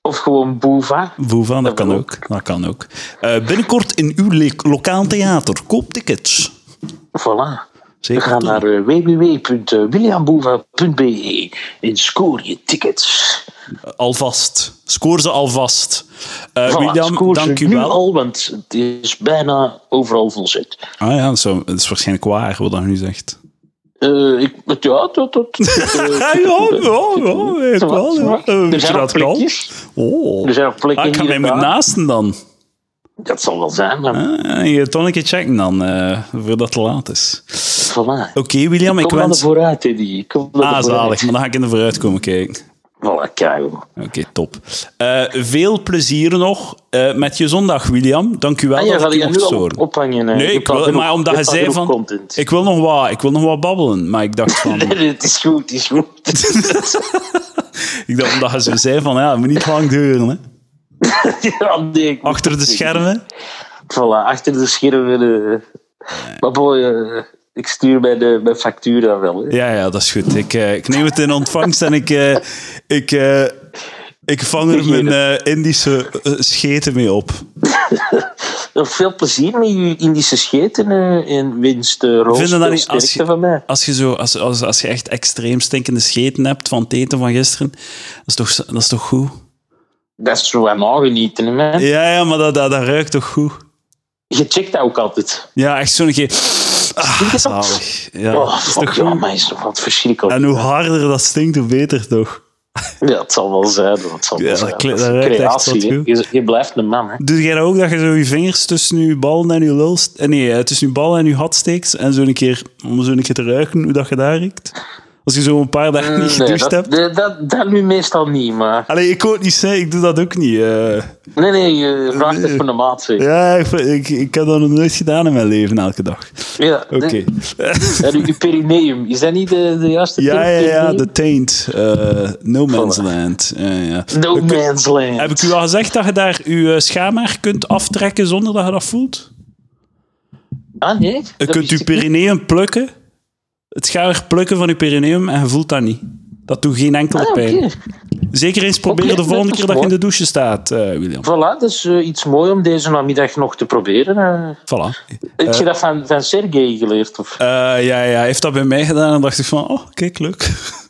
Speaker 7: Of gewoon Boeva.
Speaker 2: Voeva, dat
Speaker 7: Dat
Speaker 2: kan
Speaker 7: kan
Speaker 2: ook. Dat kan ook. Eh, binnenkort in uw le- lokaal theater. Koop tickets.
Speaker 7: Voilà. We
Speaker 2: Zeker
Speaker 7: gaan
Speaker 2: doen.
Speaker 7: naar eh, www.williamboeva.be en score je tickets.
Speaker 2: Alvast. Scoor ze alvast. Eh,
Speaker 7: Voilà,
Speaker 2: William,
Speaker 7: scoor ze
Speaker 2: dank u
Speaker 7: nu
Speaker 2: wel.
Speaker 7: al, want het is bijna overal volzet.
Speaker 2: Ah ja, dat is, wel- dat is waarschijnlijk waar wat dat nu zegt.
Speaker 7: Eh ik, het- ja, tot...
Speaker 2: (laughs)
Speaker 7: tot eh,
Speaker 2: Ja, ja, ja, ik wel, ja. Eh,
Speaker 7: Er zijn
Speaker 2: dat
Speaker 7: nog
Speaker 2: kan.
Speaker 7: plekjes.
Speaker 2: Oh.
Speaker 7: Er zijn nog
Speaker 2: Ah,
Speaker 7: plekjes
Speaker 2: ik ga
Speaker 7: hier
Speaker 2: mij
Speaker 7: en
Speaker 2: moeten
Speaker 7: daar.
Speaker 2: naasten dan.
Speaker 7: Dat zal wel zijn, maar
Speaker 2: Ah, je gaat toch een keer checken dan, eh, voordat het laat is.
Speaker 7: voilà.
Speaker 2: Oké, William, ik
Speaker 7: Kom dan er
Speaker 2: wens...
Speaker 7: vooruit, Eddie. Kom dan er
Speaker 2: Ah,
Speaker 7: vooruit.
Speaker 2: zalig. Maar dan ga ik in de vooruit komen kijken.
Speaker 7: Voilà, keigoed.
Speaker 2: Oké, top. Eh, veel plezier nog eh, met je zondag, William. Dank u wel
Speaker 7: Ah, ja,
Speaker 2: dat
Speaker 7: zal
Speaker 2: ik je
Speaker 7: je nu
Speaker 2: mocht
Speaker 7: al
Speaker 2: storen.
Speaker 7: op- ophangen? hè?
Speaker 2: Nee,
Speaker 7: Je
Speaker 2: ik
Speaker 7: hebt al
Speaker 2: wil-
Speaker 7: genoeg-
Speaker 2: maar omdat
Speaker 7: je hebt
Speaker 2: je
Speaker 7: al
Speaker 2: zei
Speaker 7: genoeg
Speaker 2: van-
Speaker 7: Content.
Speaker 2: Ik wil nog wat, ik wil nog wat babbelen, maar ik dacht van...
Speaker 7: (laughs) Nee, het is goed, het is goed. (laughs)
Speaker 2: ik dacht omdat je zo zei van, ja, het moet niet lang duren. Hè.
Speaker 7: ja, nee, ik moet
Speaker 2: Achter de
Speaker 7: het zeggen.
Speaker 2: schermen.
Speaker 7: Voilà, achter de schermen. eh. Maar boy, eh, ik stuur mijn, eh, mijn factuur dan wel. Hè.
Speaker 2: Ja, ja, dat is goed. Ik, eh, ik neem het in ontvangst en ik, eh, ik, eh, ik vang er mijn eh, Indische eh, scheten mee op.
Speaker 7: Nog Veel plezier met je Indische scheten eh, en winst eh roos.
Speaker 2: Vinden dat
Speaker 7: Veel
Speaker 2: niet als
Speaker 7: sterkte
Speaker 2: je-
Speaker 7: van mij.
Speaker 2: Als je, zo, als, als, als je echt extreem stinkende scheten hebt van het eten van gisteren, dat is toch, dat is toch goed?
Speaker 7: Dat is zo aan nagenieten, hè, man.
Speaker 2: Ja, ja, maar dat, dat, dat ruikt toch goed?
Speaker 7: Je checkt dat ook altijd.
Speaker 2: Ja, echt zo'n keer.
Speaker 7: Stinkt
Speaker 2: Ah,
Speaker 7: het ook?
Speaker 2: zalig. Ja,
Speaker 7: oh,
Speaker 2: is
Speaker 7: fuck,
Speaker 2: toch
Speaker 7: ja,
Speaker 2: goed?
Speaker 7: maar is toch wat verschrikkelijk.
Speaker 2: En hoe harder dat stinkt, hoe beter toch?
Speaker 7: Ja, het zal wel zijn. hoor, Het zal
Speaker 2: Ja,
Speaker 7: wel
Speaker 2: dat
Speaker 7: zijn.
Speaker 2: klinkt-
Speaker 7: is
Speaker 2: dat ruikt echt
Speaker 7: creatie,
Speaker 2: wat
Speaker 7: hè.
Speaker 2: goed.
Speaker 7: je, je blijft een
Speaker 2: (laughs)
Speaker 7: man, hè.
Speaker 2: Doe jij dat ook dat je zo je vingers tussen je ballen en je lul... st- eh, Nee, eh, tussen je ballen en je hat steekt en zo een keer, om zo een keer te ruiken hoe dat je daar ruikt? Als je zo een paar dagen niet
Speaker 7: Mm, Nee,
Speaker 2: gedoucht
Speaker 7: dat,
Speaker 2: hebt?
Speaker 7: dat, dat, dat nu meestal niet, maar...
Speaker 2: Allee, ik kon het niet zeggen, ik doe dat ook niet. eh.
Speaker 7: Nee, nee, je vraagt het van de maat, zeg.
Speaker 2: ja, ik, ik, ik heb dat nog nooit gedaan in mijn leven, elke dag.
Speaker 7: Ja,
Speaker 2: Oké.
Speaker 7: nee. En uw perineum, is dat niet de, de
Speaker 2: (laughs)
Speaker 7: juiste
Speaker 2: ja,
Speaker 7: term,
Speaker 2: ja, ja,
Speaker 7: perineum?
Speaker 2: de taint. eh, no man's land. Ja, ja.
Speaker 7: No
Speaker 2: We kun-
Speaker 7: man's land.
Speaker 2: Heb ik u al gezegd dat je daar uw eh, schaamhaar kunt aftrekken zonder dat je dat voelt?
Speaker 7: Ah, nee?
Speaker 2: Je
Speaker 7: dat
Speaker 2: kunt
Speaker 7: wist
Speaker 2: uw
Speaker 7: ik niet.
Speaker 2: perineum plukken. Het schaar plukken van uw perineum en je voelt dat niet. Dat doet geen enkele
Speaker 7: Ah,
Speaker 2: pijn.
Speaker 7: oké.
Speaker 2: Zeker eens proberen
Speaker 7: Oké,
Speaker 2: de volgende
Speaker 7: dat is
Speaker 2: keer dat je in
Speaker 7: mooi.
Speaker 2: de douche staat, eh, William.
Speaker 7: Voilà, dat is eh, iets moois om deze namiddag nog te proberen. eh.
Speaker 2: Voilà.
Speaker 7: Heb je dat van, van Sergej geleerd? Of?
Speaker 2: Eh, ja, ja, hij heeft dat bij mij gedaan en dacht ik van, oh, kijk, leuk.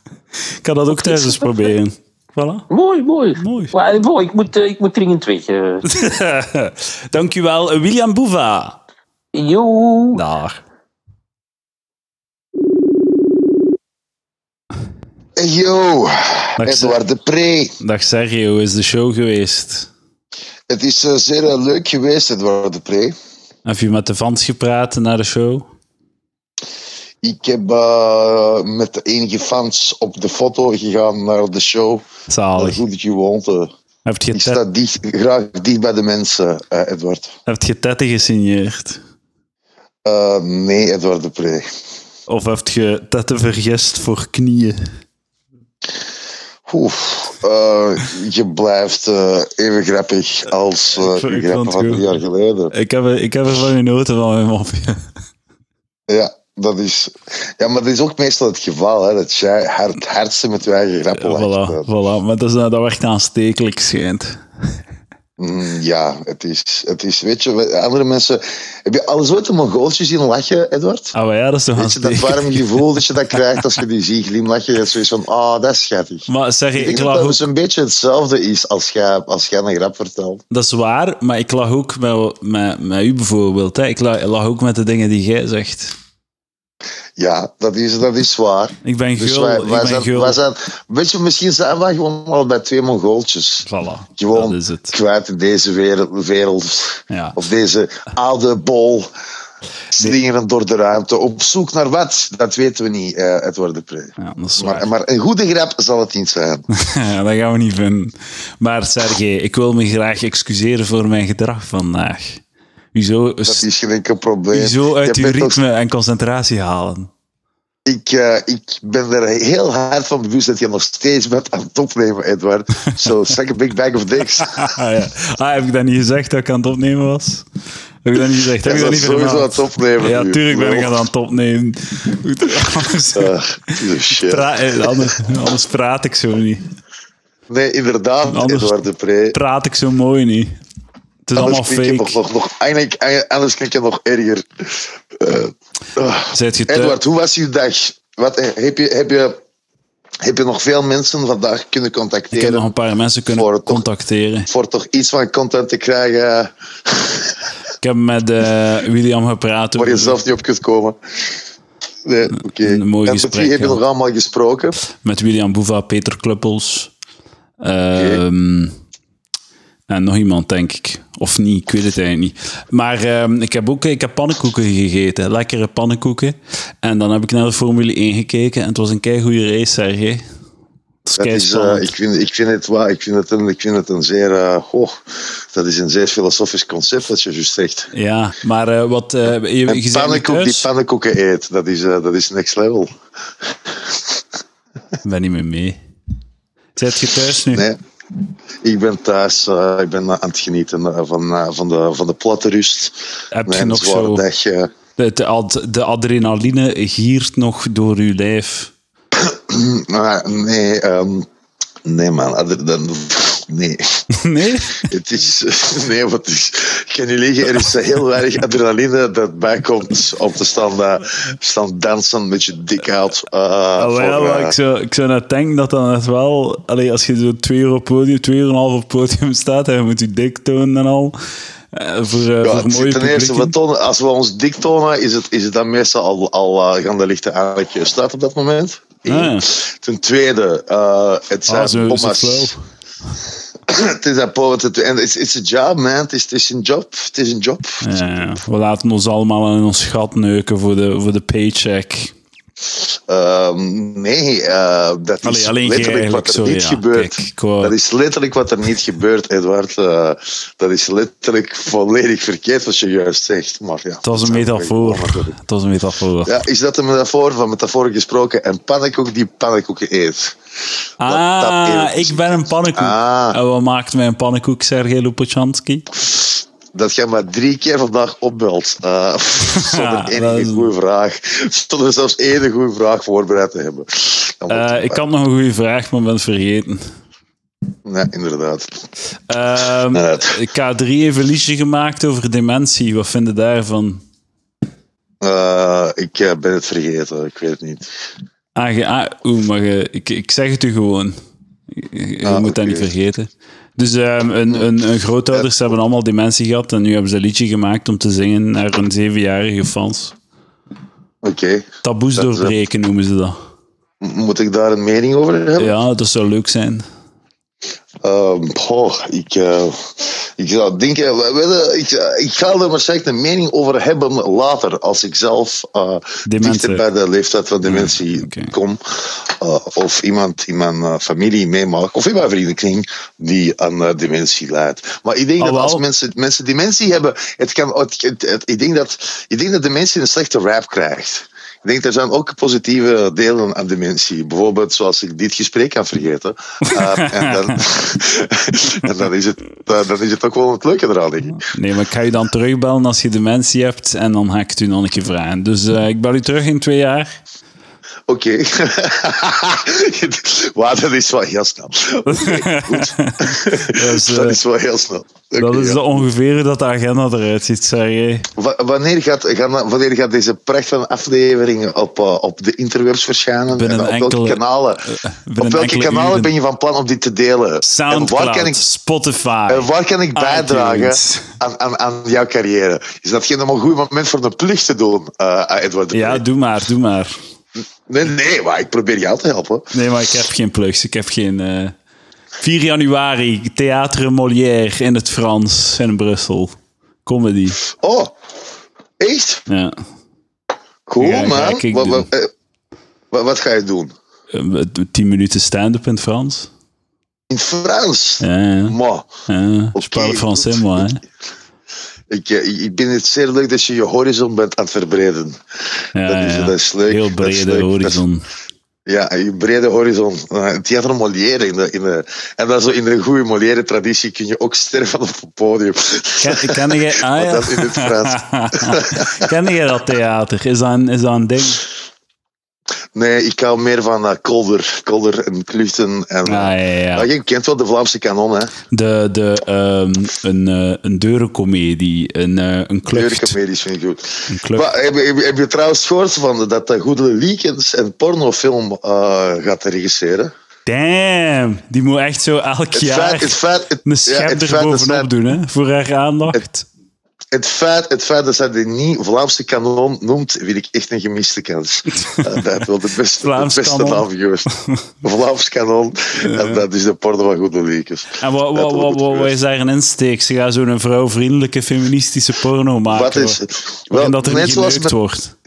Speaker 2: (laughs) ik kan dat ook thuis eens proberen. Voilà.
Speaker 7: Mooi, mooi.
Speaker 2: Mooi. Dus-
Speaker 7: Maar, eh, boy, ik, moet, eh, ik moet dringend weg. eh.
Speaker 2: (laughs) Dankjewel, eh, William Boeva.
Speaker 7: Joe.
Speaker 2: Daar.
Speaker 3: Yo,
Speaker 2: Dag, Ser-
Speaker 3: Edouard de Pre.
Speaker 2: Dag Sergio, is de show geweest?
Speaker 3: Het is eh, zeer eh, leuk geweest, Edouard de Pre.
Speaker 2: Heb je met de fans gepraat na de show?
Speaker 3: Ik heb eh, met de enige fans op de foto gegaan naar de show. Een
Speaker 2: Zalig.
Speaker 3: goede gewoonte.
Speaker 2: Heb je,
Speaker 3: Ik
Speaker 2: tet,
Speaker 3: sta dicht, graag dicht bij de mensen, eh, Edward.
Speaker 2: heb je tetten gesigneerd?
Speaker 3: Eh, nee, Edward de Pre.
Speaker 2: Of heb je tetten vergist voor knieën?
Speaker 3: Oef, eh, je blijft eh, even grappig als eh,
Speaker 2: Ik vond-
Speaker 3: de
Speaker 2: ik
Speaker 3: grappen
Speaker 2: vond het
Speaker 3: van
Speaker 2: goed.
Speaker 3: drie jaar geleden.
Speaker 2: Ik heb, er- ik heb er van genoten van mijn mopje.
Speaker 3: (laughs) Ja, dat is, ja, maar dat is ook meestal het geval, hè, dat jij hard, het hardste met je eigen grappen lacht.
Speaker 2: Voilà,
Speaker 3: Eh,
Speaker 2: voilà. Maar dat, is, dat werkt aanstekelijk, schijnt.
Speaker 3: mm, ja, het is, het is, weet je, we- andere mensen... Heb je alles ooit een Mongooltje zien lachen, Edward?
Speaker 2: Ah, maar ja, dat is toch
Speaker 3: Weet je, dat
Speaker 2: aanstekelijk.
Speaker 3: warm gevoel dat je dat krijgt als je die ziet glimlachen, dat is zoiets van, ah, dat is
Speaker 2: (laughs)
Speaker 3: schattig.
Speaker 2: Maar Sergio,
Speaker 3: Ik
Speaker 2: ik
Speaker 3: denk dat
Speaker 2: lag
Speaker 3: dat
Speaker 2: ook...
Speaker 3: dus een beetje hetzelfde is als jij, als jij een grap vertelt.
Speaker 2: Dat is waar, maar ik lag ook met, met, met u bijvoorbeeld. Hè. Ik lag, lag ook met de dingen die jij zegt.
Speaker 3: Ja, dat is, dat is waar.
Speaker 2: Ik ben
Speaker 3: Dus
Speaker 2: gul,
Speaker 3: wij,
Speaker 2: ik
Speaker 3: wij,
Speaker 2: ben
Speaker 3: zijn,
Speaker 2: gul.
Speaker 3: wij zijn, weet je, misschien zijn wij gewoon al bij twee Mongooltjes.
Speaker 2: Voilà,
Speaker 3: Gewoon
Speaker 2: dat is het.
Speaker 3: kwijt in deze wereld, wereld
Speaker 2: Ja.
Speaker 3: of deze oude bol, slingerend door de ruimte. Op zoek naar wat, dat weten we niet, eh Edward de Pre.
Speaker 2: Ja, dat is waar.
Speaker 3: Maar, maar een goede grap zal het niet zijn.
Speaker 2: (laughs) Ja, dat gaan we niet vinden. Maar Sergej, ik wil me graag excuseren voor mijn gedrag vandaag. U zo,
Speaker 3: Dat is geen enkel probleem.
Speaker 2: u zo uit
Speaker 3: Ik
Speaker 2: uw
Speaker 3: heb net als-
Speaker 2: ritme en concentratie halen.
Speaker 3: Ik, eh, ik ben er heel hard van bewust dat je nog steeds bent aan het opnemen,
Speaker 2: (laughs)
Speaker 3: Edward. So, suck a big bag of dicks.
Speaker 2: (laughs) Ah, ja. ah, heb ik dat niet gezegd dat ik aan het opnemen was? Heb ik dat niet gezegd? Heb
Speaker 3: (laughs) Ja,
Speaker 2: ik dat
Speaker 3: dat
Speaker 2: niet
Speaker 3: is sowieso aan
Speaker 2: vermeld?
Speaker 3: het opnemen
Speaker 2: Ja,
Speaker 3: nu.
Speaker 2: tuurlijk ben ik
Speaker 3: Lul.
Speaker 2: het aan het opnemen. Goed, (laughs) Anders,
Speaker 3: Eh, piece of shit.
Speaker 2: pra- eh, anders, anders praat ik zo niet.
Speaker 3: Nee, inderdaad,
Speaker 2: Anders-
Speaker 3: Edouard de Pre.
Speaker 2: Praat ik zo mooi niet. Het is allemaal
Speaker 3: Anders klink je
Speaker 2: fake.
Speaker 3: nog, nog, nog, eigenlijk, eigenlijk- anders klink je nog erger. Eh, ah.
Speaker 2: Zijt je thuis?
Speaker 3: Edward, hoe was uw dag? Wat, eh, heb, je, heb, je, heb je nog veel mensen vandaag kunnen
Speaker 2: Ik heb nog
Speaker 3: contacteren
Speaker 2: een paar mensen
Speaker 3: eh, Voor
Speaker 2: kunnen
Speaker 3: het toch-
Speaker 2: contacteren.
Speaker 3: voor toch iets van content te krijgen eh,
Speaker 2: Ik heb met eh, William gepraat.
Speaker 3: waar je
Speaker 2: over-
Speaker 3: zelf niet op kunt komen? Nee, oké.
Speaker 2: een mooi
Speaker 3: en met
Speaker 2: gesprek,
Speaker 3: wie heb je
Speaker 2: ja.
Speaker 3: nog allemaal gesproken?
Speaker 2: Met William Boeva, Peter Kluppels. Ehm, En nog iemand, denk ik. Of niet, ik weet het eigenlijk niet. Maar ehm, ik heb ook ik heb pannenkoeken gegeten. Lekkere pannenkoeken. En dan heb ik naar de Formule 1 gekeken. En het was een keigoede race, Sergej. Het is
Speaker 3: Dat is, eh,
Speaker 2: keispannend.
Speaker 3: ik, vind, ik, vind het, wa- ik, vind het een, ik vind het een zeer... eh, goh, dat is een zeer filosofisch concept dat je juist zegt.
Speaker 2: Ja, maar eh, wat... eh, je, je
Speaker 3: En
Speaker 2: bent niet
Speaker 3: pannenkoek die
Speaker 2: thuis?
Speaker 3: pannenkoeken eet, dat is, eh, dat is next level.
Speaker 2: Ik ben niet meer mee. Zet je thuis nu?
Speaker 3: Nee. Ik ben thuis, eh, ik ben eh, aan het genieten eh, van, eh, van, de, van de platte rust.
Speaker 2: Heb
Speaker 3: Na
Speaker 2: je
Speaker 3: een
Speaker 2: nog
Speaker 3: zware
Speaker 2: zo...
Speaker 3: dag, eh,
Speaker 2: De, de, ad- de adrenaline giert nog door je lijf. (laughs)
Speaker 3: maar Ah, nee, ehm, nee man, other than- Nee, (laughs)
Speaker 2: Nee?
Speaker 3: het is... Nee, wat is... Ik kan niet liggen, er is heel weinig adrenaline dat bijkomt om te staan, eh, staan dansen met je dik hout. eh,
Speaker 2: Ah,
Speaker 3: voor,
Speaker 2: wel, ja, maar
Speaker 3: eh,
Speaker 2: ik zou, ik zou net denken dat dan net wel... Allee, als je zo twee uur op podium, twee uur en een half op podium (laughs) staat en je moet je dik tonen en al... eh, voor, eh,
Speaker 3: Ja,
Speaker 2: voor
Speaker 3: het-
Speaker 2: mooie
Speaker 3: ten eerste, we
Speaker 2: publieken.
Speaker 3: tonen, als we ons dik tonen, is het, is het dan meestal al, al eh, gaan de lichten aan dat je staat op dat moment. Eén.
Speaker 2: Ah, ja.
Speaker 3: Ten tweede, eh, het zijn
Speaker 2: Ah, zo is het
Speaker 3: bommas.
Speaker 2: wel.
Speaker 3: (clears throat) het is een power to- En het is een job, man. Het is- Het is een job. Het is een job.
Speaker 2: Ja, ja. we laten ons allemaal in ons gat neuken voor de, voor de paycheck.
Speaker 3: Ehm, nee, eh, dat
Speaker 2: Allee,
Speaker 3: is
Speaker 2: alleen jij
Speaker 3: letterlijk
Speaker 2: eigenlijk
Speaker 3: wat er
Speaker 2: zo,
Speaker 3: niet
Speaker 2: ja.
Speaker 3: gebeurt.
Speaker 2: Kijk, ik wou-
Speaker 3: Dat is letterlijk wat er niet gebeurt, Edward. Eh, dat is letterlijk volledig verkeerd wat je juist zegt. Maar ja,
Speaker 2: Het was een
Speaker 3: zijn we
Speaker 2: metafoor.
Speaker 3: gewoon natuurlijk.
Speaker 2: Het was een metafoor.
Speaker 3: Ja, is dat een metafoor van metafoor gesproken? En pannenkoek die pannenkoeken eet.
Speaker 2: ah, ik ben een pannenkoek.
Speaker 3: Ah.
Speaker 2: En wat maakt mij een pannenkoek, Sergej Lopochanski?
Speaker 3: Dat jij maar drie keer vandaag opbelt. Eh, (laughs) zonder
Speaker 2: Ja, dat is
Speaker 3: enige
Speaker 2: een-
Speaker 3: goede vraag. Zonder zelfs één goede vraag voorbereid te hebben. Dan wordt het-
Speaker 2: Eh, ik had nog een goede vraag, maar ben het vergeten.
Speaker 3: Nee, inderdaad.
Speaker 2: Ehm,
Speaker 3: Nee.
Speaker 2: K3 heeft een liedje gemaakt over dementie. Wat vinden daarvan?
Speaker 3: Eh, ik eh, ben het vergeten, ik weet het niet.
Speaker 2: Ah, ge- ah, oeh, maar ge- ik, ik zeg het u gewoon. Je, je
Speaker 3: Ah,
Speaker 2: moet dat
Speaker 3: oké.
Speaker 2: niet vergeten. Dus ehm, een, een, een grootouders hebben allemaal dementie gehad en nu hebben ze een liedje gemaakt om te zingen naar hun zevenjarige fans.
Speaker 3: Oké,
Speaker 2: Taboes
Speaker 3: Dat is-
Speaker 2: doorbreken noemen ze dat.
Speaker 3: M- moet ik daar een mening over hebben?
Speaker 2: Ja, dat zou leuk zijn.
Speaker 3: Ehm, goh, ik, eh, ik zou denken, we- we- ik, ik ga er waarschijnlijk een mening over hebben later, als ik zelf eh,
Speaker 2: Demente.
Speaker 3: dichter bij de leeftijd van dementie
Speaker 2: oké.
Speaker 3: kom, eh, of iemand in mijn eh, familie meemaakt, of in mijn vriendenkring, die aan eh, dementie lijdt. Maar ik denk dat
Speaker 2: Alhoewel-
Speaker 3: als mensen, mensen dementie hebben, het kan, het, het- het- ik, denk dat, ik denk dat dementie een slechte rap krijgt. Ik denk, er zijn ook positieve delen aan dementie. Bijvoorbeeld, zoals ik dit gesprek kan
Speaker 2: (laughs)
Speaker 3: vergeten. Eh, en dan, (laughs) en dan, is het, eh, dan is het ook wel het leuke eraan, denk ik.
Speaker 2: Nee, maar ik ga je dan terugbellen als je dementie hebt en dan ga ik het u nog een keer vragen. Dus eh, ik bel u terug in twee jaar.
Speaker 3: Oké. (laughs) Wauw, dat is wel heel
Speaker 2: (laughs)
Speaker 3: snel. Oké, goed.
Speaker 2: Dus, eh,
Speaker 3: dat is wel heel snel. Oké,
Speaker 2: dat is
Speaker 3: ja.
Speaker 2: de ongeveer dat de agenda eruit ziet, Sergej.
Speaker 3: Wa- Wanneer gaat, gaan- wanneer gaat deze prachtige aflevering op, eh, op de interwebs verschijnen?
Speaker 2: Binnen
Speaker 3: en op welke
Speaker 2: enkele- Eh,
Speaker 3: kanalen,
Speaker 2: binnen
Speaker 3: op welke
Speaker 2: enkele
Speaker 3: kanalen
Speaker 2: uren.
Speaker 3: ben je van plan om dit te delen? En waar
Speaker 2: Soundcloud,
Speaker 3: kan ik
Speaker 2: Spotify.
Speaker 3: En waar kan ik bijdragen
Speaker 2: iTunes.
Speaker 3: aan, aan, aan jouw carrière? Is dat geen een goed moment voor een plicht te doen, eh, Edward? de
Speaker 2: Ja,
Speaker 3: Pre?
Speaker 2: doe maar, doe maar.
Speaker 3: Nee, nee, maar ik probeer jou te helpen.
Speaker 2: Nee, maar ik heb geen plugs. Ik heb geen... eh 4 januari, Theatre Molière in het Frans in Brussel. Comedy.
Speaker 3: Oh, echt?
Speaker 2: Ja.
Speaker 3: Cool,
Speaker 2: Ja, ga
Speaker 3: man.
Speaker 2: ik
Speaker 3: Wat,
Speaker 2: doen.
Speaker 3: wat, eh, wat, wat ga je doen?
Speaker 2: Eh, 10 minuten stand-up in het Frans.
Speaker 3: In het Frans?
Speaker 2: Ja, ja.
Speaker 3: Maar,
Speaker 2: ja.
Speaker 3: Oké,
Speaker 2: Je parle français,
Speaker 3: goed.
Speaker 2: moi. hè.
Speaker 3: ik, eh, ik ben het zeer leuk dat je je horizon bent aan het verbreden.
Speaker 2: Ja,
Speaker 3: Dat is-
Speaker 2: Ah, ja.
Speaker 3: dat is leuk,
Speaker 2: Heel
Speaker 3: dat is
Speaker 2: brede
Speaker 3: leuk, dat is-
Speaker 2: horizon.
Speaker 3: Ja, een brede horizon. Eh, Theater Molière. In de, in de, en dan zo in een goede Molière-traditie kun je ook sterven op het podium.
Speaker 2: Ken, ken jij... Ah,
Speaker 3: Maar
Speaker 2: ja.
Speaker 3: dan in het Frans.
Speaker 2: (laughs) ken jij dat theater? Is dat een, is dat een ding?
Speaker 3: Nee, ik hou meer van eh, Kolder. Kolder en Kluchten. En, eh,
Speaker 2: Ah, ja, ja.
Speaker 3: maar je kent wel de Vlaamse kanon, hè?
Speaker 2: De, de, ehm, een, eh, een deurencomedie, een, eh, een klucht.
Speaker 3: Kleurcomedies vind ik goed.
Speaker 2: Een klucht.
Speaker 3: Maar heb, je- heb je- heb je trouwens gehoord van dat de Goedele Leakens een pornofilm eh, gaat regisseren?
Speaker 2: Damn, die moet echt zo elk
Speaker 3: Het
Speaker 2: jaar
Speaker 3: feit, het feit, het,
Speaker 2: een
Speaker 3: ja,
Speaker 2: schep
Speaker 3: het
Speaker 2: er
Speaker 3: feit dat
Speaker 2: bovenop
Speaker 3: zij-
Speaker 2: doen hè, voor haar aandacht.
Speaker 3: het feit, het feit dat zij de niet Vlaamse kanon noemt, vind ik echt een gemiste
Speaker 2: (laughs)
Speaker 3: kans. Eh, dat had wel de beste,
Speaker 2: Vlaams
Speaker 3: de beste
Speaker 2: kanon.
Speaker 3: naam geweest. Vlaams kanon, en dat is de porno van Goedele Leakens.
Speaker 2: En wat,
Speaker 3: Dat
Speaker 2: wat,
Speaker 3: had wel
Speaker 2: wat,
Speaker 3: goed
Speaker 2: wat,
Speaker 3: geweest.
Speaker 2: is daar een insteek? Ze gaan zo'n vrouwvriendelijke feministische porno maken.
Speaker 3: Wat is
Speaker 2: waar-
Speaker 3: het?
Speaker 2: waarin
Speaker 3: Wel,
Speaker 2: dat er
Speaker 3: net (laughs)
Speaker 2: niet
Speaker 3: zoals
Speaker 2: geneukt
Speaker 3: met-
Speaker 2: wordt.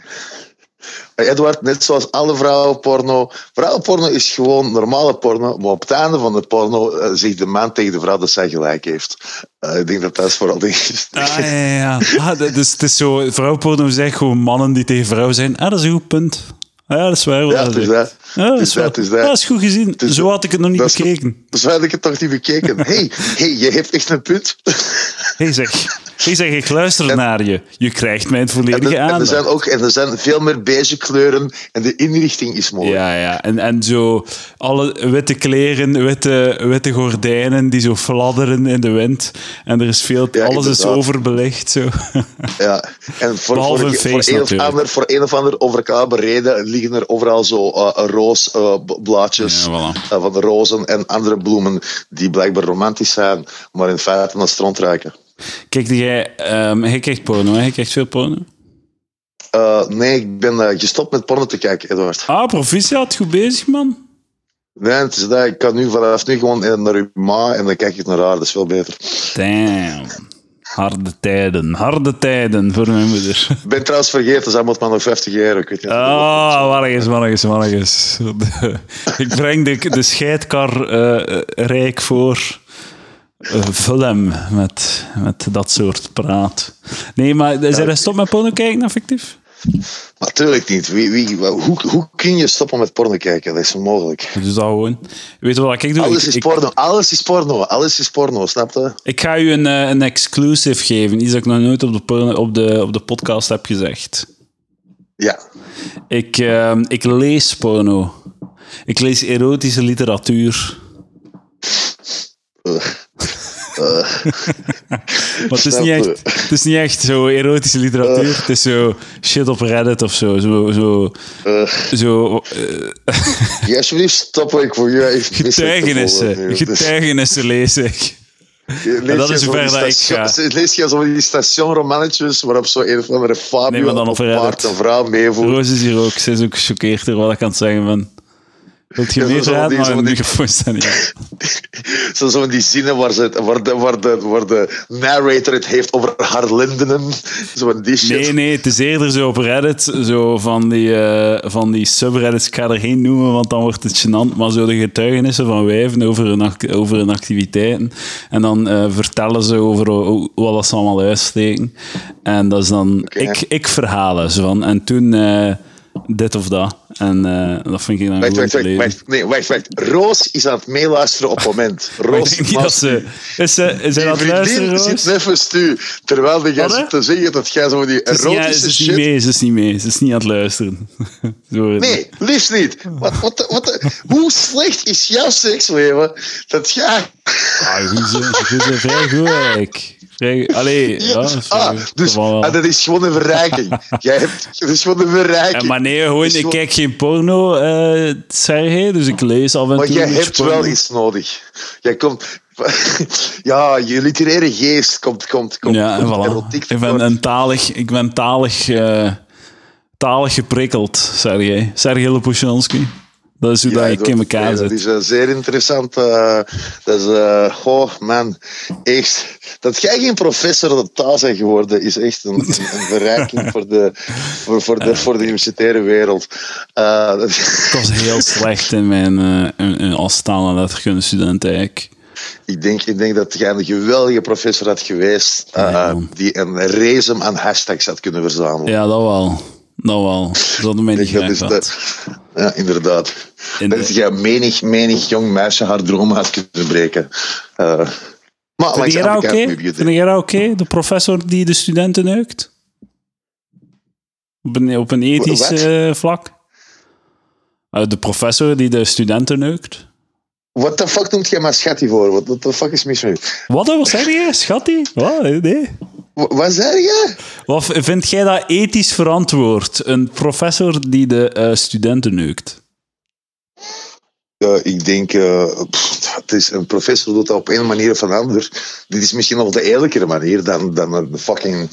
Speaker 3: Edward, net zoals alle vrouwenporno. Vrouwenporno is gewoon normale porno, maar op het einde van de porno eh, zegt de man tegen de vrouw dat zij gelijk heeft. Eh, ik denk dat dat is vooral ding is.
Speaker 2: Ah, ja, ja, ja. Ah, dat- dus het is zo, vrouwenporno zegt gewoon mannen die tegen vrouwen zijn. Ah, dat is een goed punt. Ah, Ja, dat is waar. wat
Speaker 3: Ja,
Speaker 2: hij
Speaker 3: het is
Speaker 2: zegt.
Speaker 3: dat.
Speaker 2: Ja, dat
Speaker 3: Het
Speaker 2: is
Speaker 3: is
Speaker 2: waar.
Speaker 3: dat, het is dat.
Speaker 2: Ja, dat is goed gezien.
Speaker 3: is
Speaker 2: Zo
Speaker 3: dat.
Speaker 2: had ik het nog niet
Speaker 3: Dat is goed.
Speaker 2: bekeken.
Speaker 3: Zo had ik het toch niet bekeken. hey, hey, je hebt echt een punt.
Speaker 2: Hé hey, zeg. Hey, zeg, ik luister naar je. Je krijgt mijn
Speaker 3: En,
Speaker 2: volledige
Speaker 3: er- en er
Speaker 2: aandacht.
Speaker 3: zijn ook en er zijn veel meer beige kleuren en de inrichting is mooi.
Speaker 2: Ja, ja. En, en zo alle witte kleren, witte, witte gordijnen die zo fladderen in de wind. En er is veel,
Speaker 3: Ja,
Speaker 2: alles is
Speaker 3: inderdaad.
Speaker 2: overbelicht. Zo.
Speaker 3: Ja. En voor,
Speaker 2: Behalve
Speaker 3: voor,
Speaker 2: een
Speaker 3: voor,
Speaker 2: feest
Speaker 3: een of
Speaker 2: natuurlijk.
Speaker 3: ander, voor een of ander overkabel reden liggen er overal zo eh, roos eh, b- blaadjes
Speaker 2: Ja, voilà.
Speaker 3: eh, van de rozen en andere bloemen die blijkbaar romantisch zijn, maar in feite naar stront ruiken.
Speaker 2: Kijk, jij, ehm jij krijgt porno, hè? Jij krijgt veel porno.
Speaker 3: Eh, nee, ik ben eh, gestopt met porno te kijken, Edward.
Speaker 2: Ah, proficiat, goed bezig, man.
Speaker 3: Nee, het is dat, ik kan nu vanaf nu gewoon eh, naar uw ma en dan kijk ik naar haar, dat is veel beter.
Speaker 2: Damn. Harde tijden, harde tijden voor mijn moeder.
Speaker 3: Ik ben trouwens vergeten, zij moet maar nog 50 jaar, ik weet niet.
Speaker 2: Ah, warrigens, warrigens, warrigens. (laughs) Ik breng de, de scheidkar eh, eh, rijk voor. eh vul hem met, met dat soort praat. Nee, maar is er een stop met porno kijken, effectief?
Speaker 3: Natuurlijk niet. Wie, wie, wa- hoe, hoe kun je stoppen met porno kijken? Dat is onmogelijk.
Speaker 2: Dus dat gewoon. Weet je wat ik doe?
Speaker 3: Alles
Speaker 2: ik,
Speaker 3: is
Speaker 2: ik-
Speaker 3: porno, alles is porno, alles is porno, snap je?
Speaker 2: Ik ga u een, eh, een exclusive geven. Iets dat ik nog nooit op de, porno- op de, op de podcast heb gezegd.
Speaker 3: Ja.
Speaker 2: Ik, ehm, ik lees porno. Ik lees erotische literatuur.
Speaker 3: Ugh. Ugh.
Speaker 2: (laughs) Maar het is,
Speaker 3: Eh, Snap
Speaker 2: niet
Speaker 3: je? Eh.
Speaker 2: echt, het is niet echt zo erotische literatuur. Het is zo shit op Reddit of zo. Zo, zo,
Speaker 3: Ugh.
Speaker 2: zo eh,
Speaker 3: Ja, alsjeblieft, stop. Ik voor je even dus
Speaker 2: getuigenissen. Getuigenissen lees ik. dat is zover dat ik ga.
Speaker 3: (laughs) Lees je zo die stationromannetjes waarop zo een of andere
Speaker 2: Nee,
Speaker 3: Fabio
Speaker 2: maar dan
Speaker 3: of
Speaker 2: op Reddit.
Speaker 3: paard een vrouw meevoert?
Speaker 2: Roos is hier ook. Ze is ook gechoqueerd door wat ik aan het zeggen ben. Wilt je
Speaker 3: Ja,
Speaker 2: meer
Speaker 3: zo van
Speaker 2: raden?
Speaker 3: die-
Speaker 2: Maar
Speaker 3: zo
Speaker 2: mijn
Speaker 3: van die-
Speaker 2: microfoon staat niet aan.
Speaker 3: Zo, zo in die zinnen waar, ze, het- waar, de, waar, de, waar de narrator het heeft over haar lindenen. Zo van die shit.
Speaker 2: Nee, nee, het is eerder zo op Reddit, zo van die, eh, van die subreddits, ik ga er geen noemen, want dan wordt het gênant, maar zo de getuigenissen van wijven over hun, act- over hun activiteiten. En dan eh, vertellen ze over o- wat dat ze allemaal uitsteken. En dat is dan ik, ik verhalen ze van. En toen eh, dit of dat. En eh, dat vind ik dan
Speaker 3: Wacht,
Speaker 2: goed om
Speaker 3: wacht,
Speaker 2: te
Speaker 3: wacht,
Speaker 2: lezen.
Speaker 3: wacht. Nee, wacht, wacht. Roos is aan het meeluisteren op het moment.
Speaker 2: Maar ik
Speaker 3: Roos
Speaker 2: denk niet dat ze... Is ze, is ze
Speaker 3: Die
Speaker 2: aan het luisteren,
Speaker 3: vriendin
Speaker 2: Roos?
Speaker 3: zit neffens tu. Terwijl jij
Speaker 2: Wat, hè?
Speaker 3: zit te zeggen dat jij zo van die
Speaker 2: Ze is niet- ja, ze
Speaker 3: erotische
Speaker 2: is niet
Speaker 3: shit...
Speaker 2: mee, ze is niet mee. Ze is niet aan het luisteren. (laughs) Sorry.
Speaker 3: Nee, liefst niet. Wat, wat, de- wat, de- hoe slecht is jouw seksleven dat jij...
Speaker 2: Ah, goed zo, goed zo, vrij goed eigenlijk. Vrij,
Speaker 3: (laughs)
Speaker 2: allee, ja.
Speaker 3: ah,
Speaker 2: vrij-
Speaker 3: dus
Speaker 2: wel wel.
Speaker 3: ah, dat is gewoon een verrijking. Jij hebt, dat is gewoon een
Speaker 2: Eh,
Speaker 3: verrijking.
Speaker 2: maar nee, gewoon,
Speaker 3: is
Speaker 2: ik
Speaker 3: gewoon-
Speaker 2: kijk geen porno, eh Sergej, dus ik lees af en
Speaker 3: Maar
Speaker 2: toe
Speaker 3: jij
Speaker 2: een beetje
Speaker 3: hebt
Speaker 2: porno.
Speaker 3: wel iets nodig. Jij komt... (laughs) Ja, je literaire geest komt... komt, komt
Speaker 2: Ja, en
Speaker 3: komt
Speaker 2: voilà.
Speaker 3: erotiek
Speaker 2: Ik ben,
Speaker 3: tekort.
Speaker 2: een talig, ik ben talig, eh, talig geprikkeld, Sergej. Sergej Lepouchansky. Dat is hoe dat ik in
Speaker 3: dat-
Speaker 2: elkaar
Speaker 3: nee,
Speaker 2: zit.
Speaker 3: Dat is eh, zeer interessant. eh, dat is, eh, goh, man. Echt, dat jij geen professor op taal bent geworden, is echt een, een, een verrijking voor de, voor, voor de, voor de universitaire wereld. Eh, (laughs) dat-
Speaker 2: Ik was heel slecht in mijn eh in, in, als taal- en letterkunde student eigenlijk.
Speaker 3: ik, denk, ik denk dat jij een geweldige professor had geweest eh,
Speaker 2: Nee, man.
Speaker 3: die een resum aan hashtags had kunnen verzamelen.
Speaker 2: Ja, dat wel. Dat wel. Ze hadden mij niet
Speaker 3: Ik denk
Speaker 2: graag
Speaker 3: dat is
Speaker 2: gehad.
Speaker 3: de- ja, inderdaad.
Speaker 2: In
Speaker 3: dat
Speaker 2: de-
Speaker 3: jij menig, menig jong meisje haar droom had kunnen breken. Eh, maar
Speaker 2: Vind
Speaker 3: langs de
Speaker 2: jij dat
Speaker 3: andere
Speaker 2: oké?
Speaker 3: kant moet je
Speaker 2: Vind jij dat oké? De professor die de studenten neukt? Op een, op een ethisch
Speaker 3: Wat?
Speaker 2: eh, vlak? Eh, de professor die de studenten neukt?
Speaker 3: Wat de fuck noemt jij maar schatje voor? Wat- Wat de fuck is mis met je?
Speaker 2: Wat, wat zeg jij? Schattie? Wat? Eh, Nee.
Speaker 3: Wa- Wat zei je?
Speaker 2: Wat v- vind jij dat ethisch verantwoord? Een professor die de eh, studenten neukt? (laughs)
Speaker 3: Eh, ik denk, eh, pff, het is een professor doet dat op een manier of een ander. Dit is misschien nog de eerlijkere manier dan, dan een, fucking,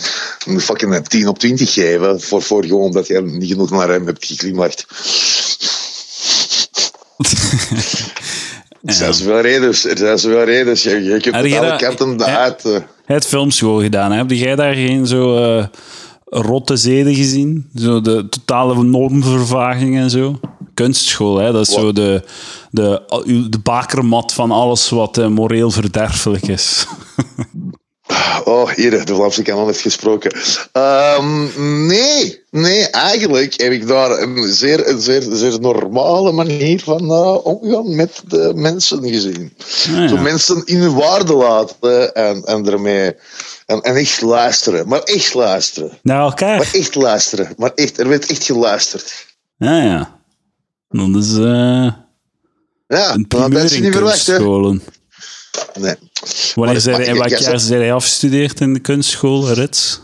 Speaker 3: een fucking een 10 op 20 geven. Voor, voor gewoon dat je niet genoeg naar hem hebt geklimlacht. Er zijn zoveel redenen. Er zijn zoveel redenen. Je, je kunt
Speaker 2: Heb je
Speaker 3: met alle
Speaker 2: dat-
Speaker 3: kanten
Speaker 2: eh,
Speaker 3: uit. eh.
Speaker 2: Het filmschool gedaan. hè? Heb jij daar geen zo eh, rotte zeden gezien. Zo de totale normvervaging en zo. Kunstschool, hè? dat is zo de, de, de bakermat van alles wat eh, moreel verderfelijk is.
Speaker 3: Oh, hier, de Vlaamse kanon heeft gesproken. Ehm, nee, nee, eigenlijk heb ik daar een zeer, een zeer, zeer normale manier van eh, omgaan met de mensen gezien.
Speaker 2: Ah,
Speaker 3: Zo
Speaker 2: ja.
Speaker 3: mensen in hun waarde laten en, en ermee. En, en echt luisteren, maar echt luisteren.
Speaker 2: Naar elkaar.
Speaker 3: Maar echt luisteren, maar echt, er werd echt geluisterd.
Speaker 2: Ja, ja. Dat is eh
Speaker 3: Ja,
Speaker 2: een
Speaker 3: dat
Speaker 2: primeur
Speaker 3: had je
Speaker 2: in
Speaker 3: niet verwacht, hè?
Speaker 2: kunstscholen.
Speaker 3: Nee.
Speaker 2: Wanneer
Speaker 3: Maar-
Speaker 2: zijn,
Speaker 3: maar-
Speaker 2: in welk
Speaker 3: ja,
Speaker 2: jaar
Speaker 3: zo-
Speaker 2: zijn jij afgestudeerd in de kunstschool, Rits?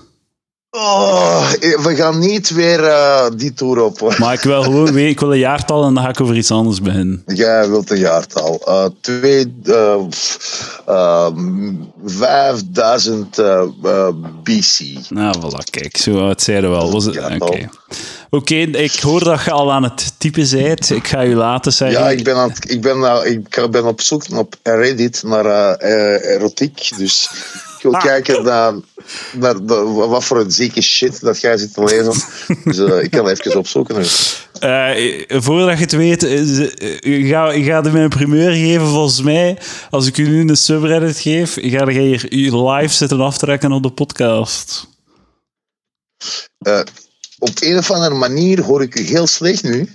Speaker 3: Oh, we gaan niet weer eh, die tour op.
Speaker 2: Maar ik wil gewoon weten, ik wil een jaartal en dan ga ik over iets anders beginnen.
Speaker 3: Jij wilt een jaartal. Eh twee, eh, pff, ehm, 5000 eh, eh, BC.
Speaker 2: Nou, voilà, kijk, zo oud zijn we wel. Was het?
Speaker 3: Ja,
Speaker 2: Oké,
Speaker 3: wel.
Speaker 2: Oké, ik hoor dat je al aan het typen zijt. Ik ga je laten zeggen.
Speaker 3: Ja, ik ben, aan het- ik, ben, eh, ik ben op zoek op Reddit naar eh, eh, erotiek. Dus ik wil kijken naar, naar de- wat voor een zieke shit dat jij zit te lezen. Dus eh, ik kan even opzoeken.
Speaker 2: Eh, voordat je het weet, is- eh, je gaat je gaat hem een primeur geven. Volgens mij, als ik u nu een subreddit geef, ga je hier je live zitten aftrekken op de podcast.
Speaker 3: Eh, op een of andere manier hoor ik u heel slecht nu.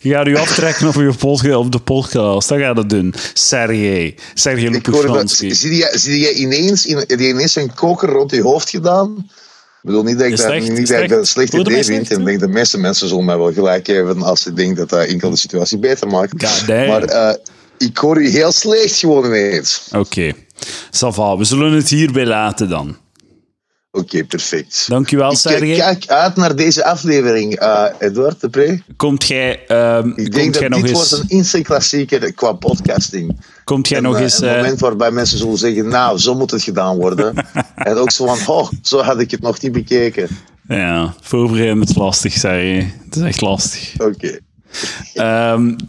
Speaker 2: Je gaat u aftrekken op, je podca- op de podcast. Dat gaat het doen. Sergej. Sergej
Speaker 3: Ik hoorde dat.
Speaker 2: Lupushansky.
Speaker 3: Zie jij, zie jij ineens, in, heb je ineens een koker rond je hoofd gedaan? Ik bedoel niet dat ik
Speaker 2: Is
Speaker 3: dat,
Speaker 2: het echt?
Speaker 3: niet
Speaker 2: Is
Speaker 3: dat,
Speaker 2: het
Speaker 3: ik dat een
Speaker 2: echt?
Speaker 3: slecht
Speaker 2: Hoorde mij
Speaker 3: idee vind.
Speaker 2: slecht,
Speaker 3: En ik denk de meeste mensen zullen mij wel gelijk geven als ze denken dat dat enkel de situatie beter maakt.
Speaker 2: God damn.
Speaker 3: Maar eh, ik hoor u heel slecht gewoon ineens.
Speaker 2: Oké. Ça va, we zullen het hierbij laten dan.
Speaker 3: Oké, perfect.
Speaker 2: Dankjewel,
Speaker 3: ik eh,
Speaker 2: Sergej.
Speaker 3: kijk uit naar deze aflevering, eh Edward de Pre.
Speaker 2: Komt jij, ehm,
Speaker 3: Ik denk
Speaker 2: komt jij
Speaker 3: dat
Speaker 2: nog
Speaker 3: dit
Speaker 2: eens,
Speaker 3: wordt een instant-klassieker qua podcasting.
Speaker 2: komt jij
Speaker 3: En,
Speaker 2: nog
Speaker 3: eh,
Speaker 2: eens,
Speaker 3: een
Speaker 2: eh,
Speaker 3: moment waarbij mensen zullen zeggen, nou, zo moet het gedaan
Speaker 2: (laughs)
Speaker 3: worden. en ook zo van, oh, zo had ik het nog niet bekeken.
Speaker 2: ja, voorbereiden is lastig, Sergej. Het is echt lastig.
Speaker 3: Oké.
Speaker 2: Ehm, (laughs)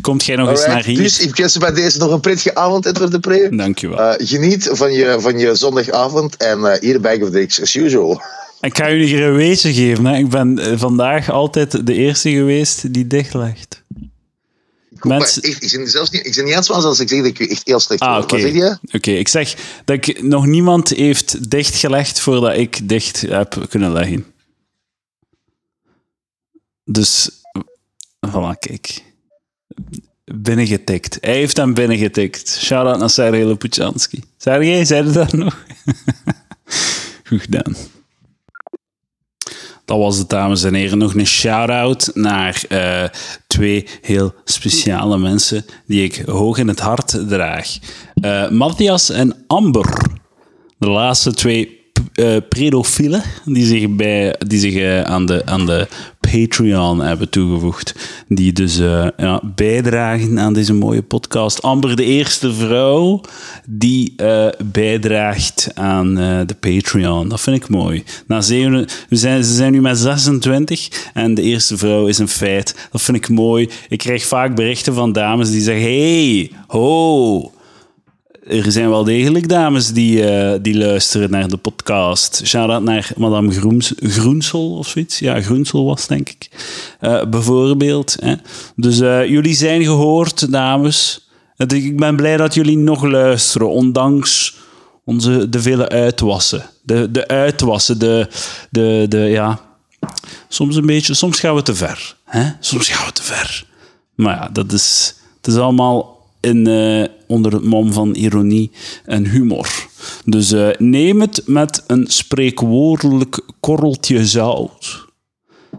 Speaker 2: komt jij nog eens naar
Speaker 3: Alright,
Speaker 2: hier?
Speaker 3: Dus ik wens je bij deze nog een prettige avond, Edward de Pre.
Speaker 2: Dankjewel.
Speaker 3: Eh, geniet van je, van je zondagavond en eh, hier bij of Dicks as usual.
Speaker 2: Ik ga jullie hier een wezen geven. Hè. Ik ben eh, vandaag altijd de eerste geweest die dicht legt. Mensen-
Speaker 3: Maar echt, ik, ben zelfs niet, ik ben niet aan het Spaans als ik zeg dat ik u echt heel slecht
Speaker 2: Ah,
Speaker 3: hoor.
Speaker 2: oké.
Speaker 3: Wat zeg je?
Speaker 2: Oké, ik zeg dat ik, nog niemand heeft dichtgelegd voordat ik dicht heb kunnen leggen. Dus, voilà, kijk. Binnengetikt. Hij heeft hem binnengetikt. Shout-out naar Sergej Loputjanski. Sergej, zei je dat nog? (laughs) Goed gedaan. Dat was het, dames en heren. Nog een shout-out naar eh, twee heel speciale mensen die ik hoog in het hart draag. Eh, Matthias en Amber. De laatste twee p- eh, pedofielen die zich, bij, die zich eh, aan, de, aan de Patreon hebben toegevoegd. Die dus eh, ja, bijdragen aan deze mooie podcast. Amber, de eerste vrouw die eh, bijdraagt aan eh, de Patreon. Dat vind ik mooi. Na zeven, we zijn, ze zijn nu met 26 en de eerste vrouw is een feit. Dat vind ik mooi. Ik krijg vaak berichten van dames die zeggen: hey, ho er zijn wel degelijk dames die, eh, die luisteren naar de podcast. Shout-out naar madame Groens, Groensel of zoiets. Ja, Groensel was het, denk ik. Eh, bijvoorbeeld. Hè. Dus eh, jullie zijn gehoord, dames. Het- Ik ben blij dat jullie nog luisteren, ondanks onze, de vele uitwassen. De, de uitwassen, de, de, de, ja... Soms een beetje, soms gaan we te ver. Hè? Soms gaan we te ver. Maar ja, dat is, het is allemaal in, eh, onder het mom van ironie en humor. Dus eh, neem het met een spreekwoordelijk korreltje zout.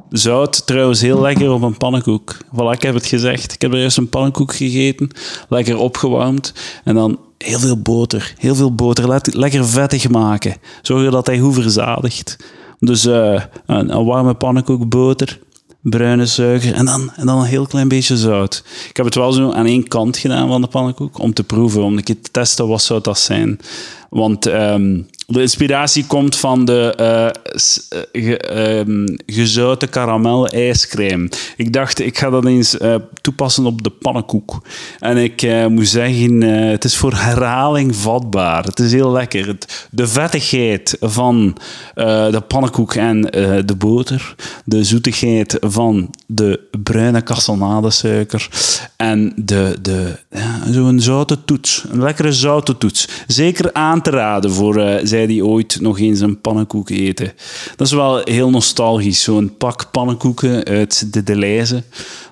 Speaker 2: Zout trouwens heel lekker op een pannenkoek. Voilà, ik heb het gezegd. Ik heb er eerst een pannenkoek gegeten, lekker opgewarmd. En dan heel veel boter, heel veel boter. Laat het lekker vettig maken. Zorg dat hij goed verzadigt. Dus eh, een, een warme pannenkoek, boter, bruine suiker en dan, en dan een heel klein beetje zout. Ik heb het wel zo aan één kant gedaan van de pannenkoek, om te proeven, om een keer te testen wat zou dat zijn. Want ehm, de inspiratie komt van de eh, s- eh, ge- ehm, gezouten karamel ijscrème. Ik dacht, ik ga dat eens eh, toepassen op de pannenkoek. En ik eh, moet zeggen, eh, het is voor herhaling vatbaar. Het is heel lekker. Het, de vettigheid van eh, de pannenkoek en eh, de boter. De zoetigheid van de bruine kastelnadesuiker. En de, de, ja, zo'n zoute toets. Een lekkere zoute toets. Zeker aan te raden voor eh, zij die ooit nog eens een pannenkoek eten. Dat is wel heel nostalgisch. Zo'n pak pannenkoeken uit de Deleuze.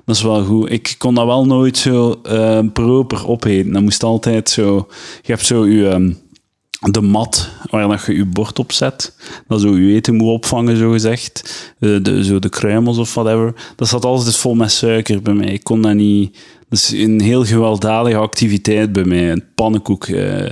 Speaker 2: Dat is wel goed. Ik kon dat wel nooit zo eh, proper opeten. Dat moest altijd zo... Je hebt zo je... ehm, de mat waar dat je je bord op zet, dat zo je eten moet opvangen, zo gezegd. Eh, de, zo de kruimels of whatever. Dat zat altijd dus vol met suiker bij mij. Ik kon dat niet. Dat is een heel gewelddadige activiteit bij mij, een pannenkoek eh,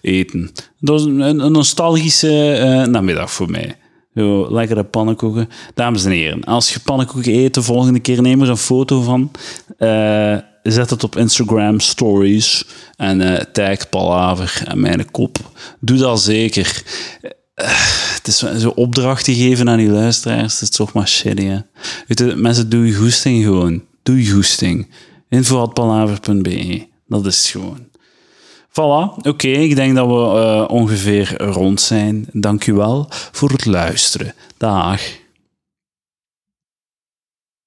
Speaker 2: eten. Dat was een, een nostalgische eh, namiddag voor mij. Zo, lekkere pannenkoeken. Dames en heren, als je pannenkoeken eet, de volgende keer neem er een foto van. Eh, zet het op Instagram Stories en eh tag Palaver en mijn kop. Doe dat zeker. Eh, het is zo- zo opdrachten geven aan die luisteraars, dat is toch maar shitty, hè? Weet je, mensen, doe je goesting gewoon. Doe je goesting. Info.palaver.be. e. Dat is het gewoon. Voilà, oké. Ik denk dat we eh, ongeveer rond zijn. Dank u wel voor het luisteren. Dag.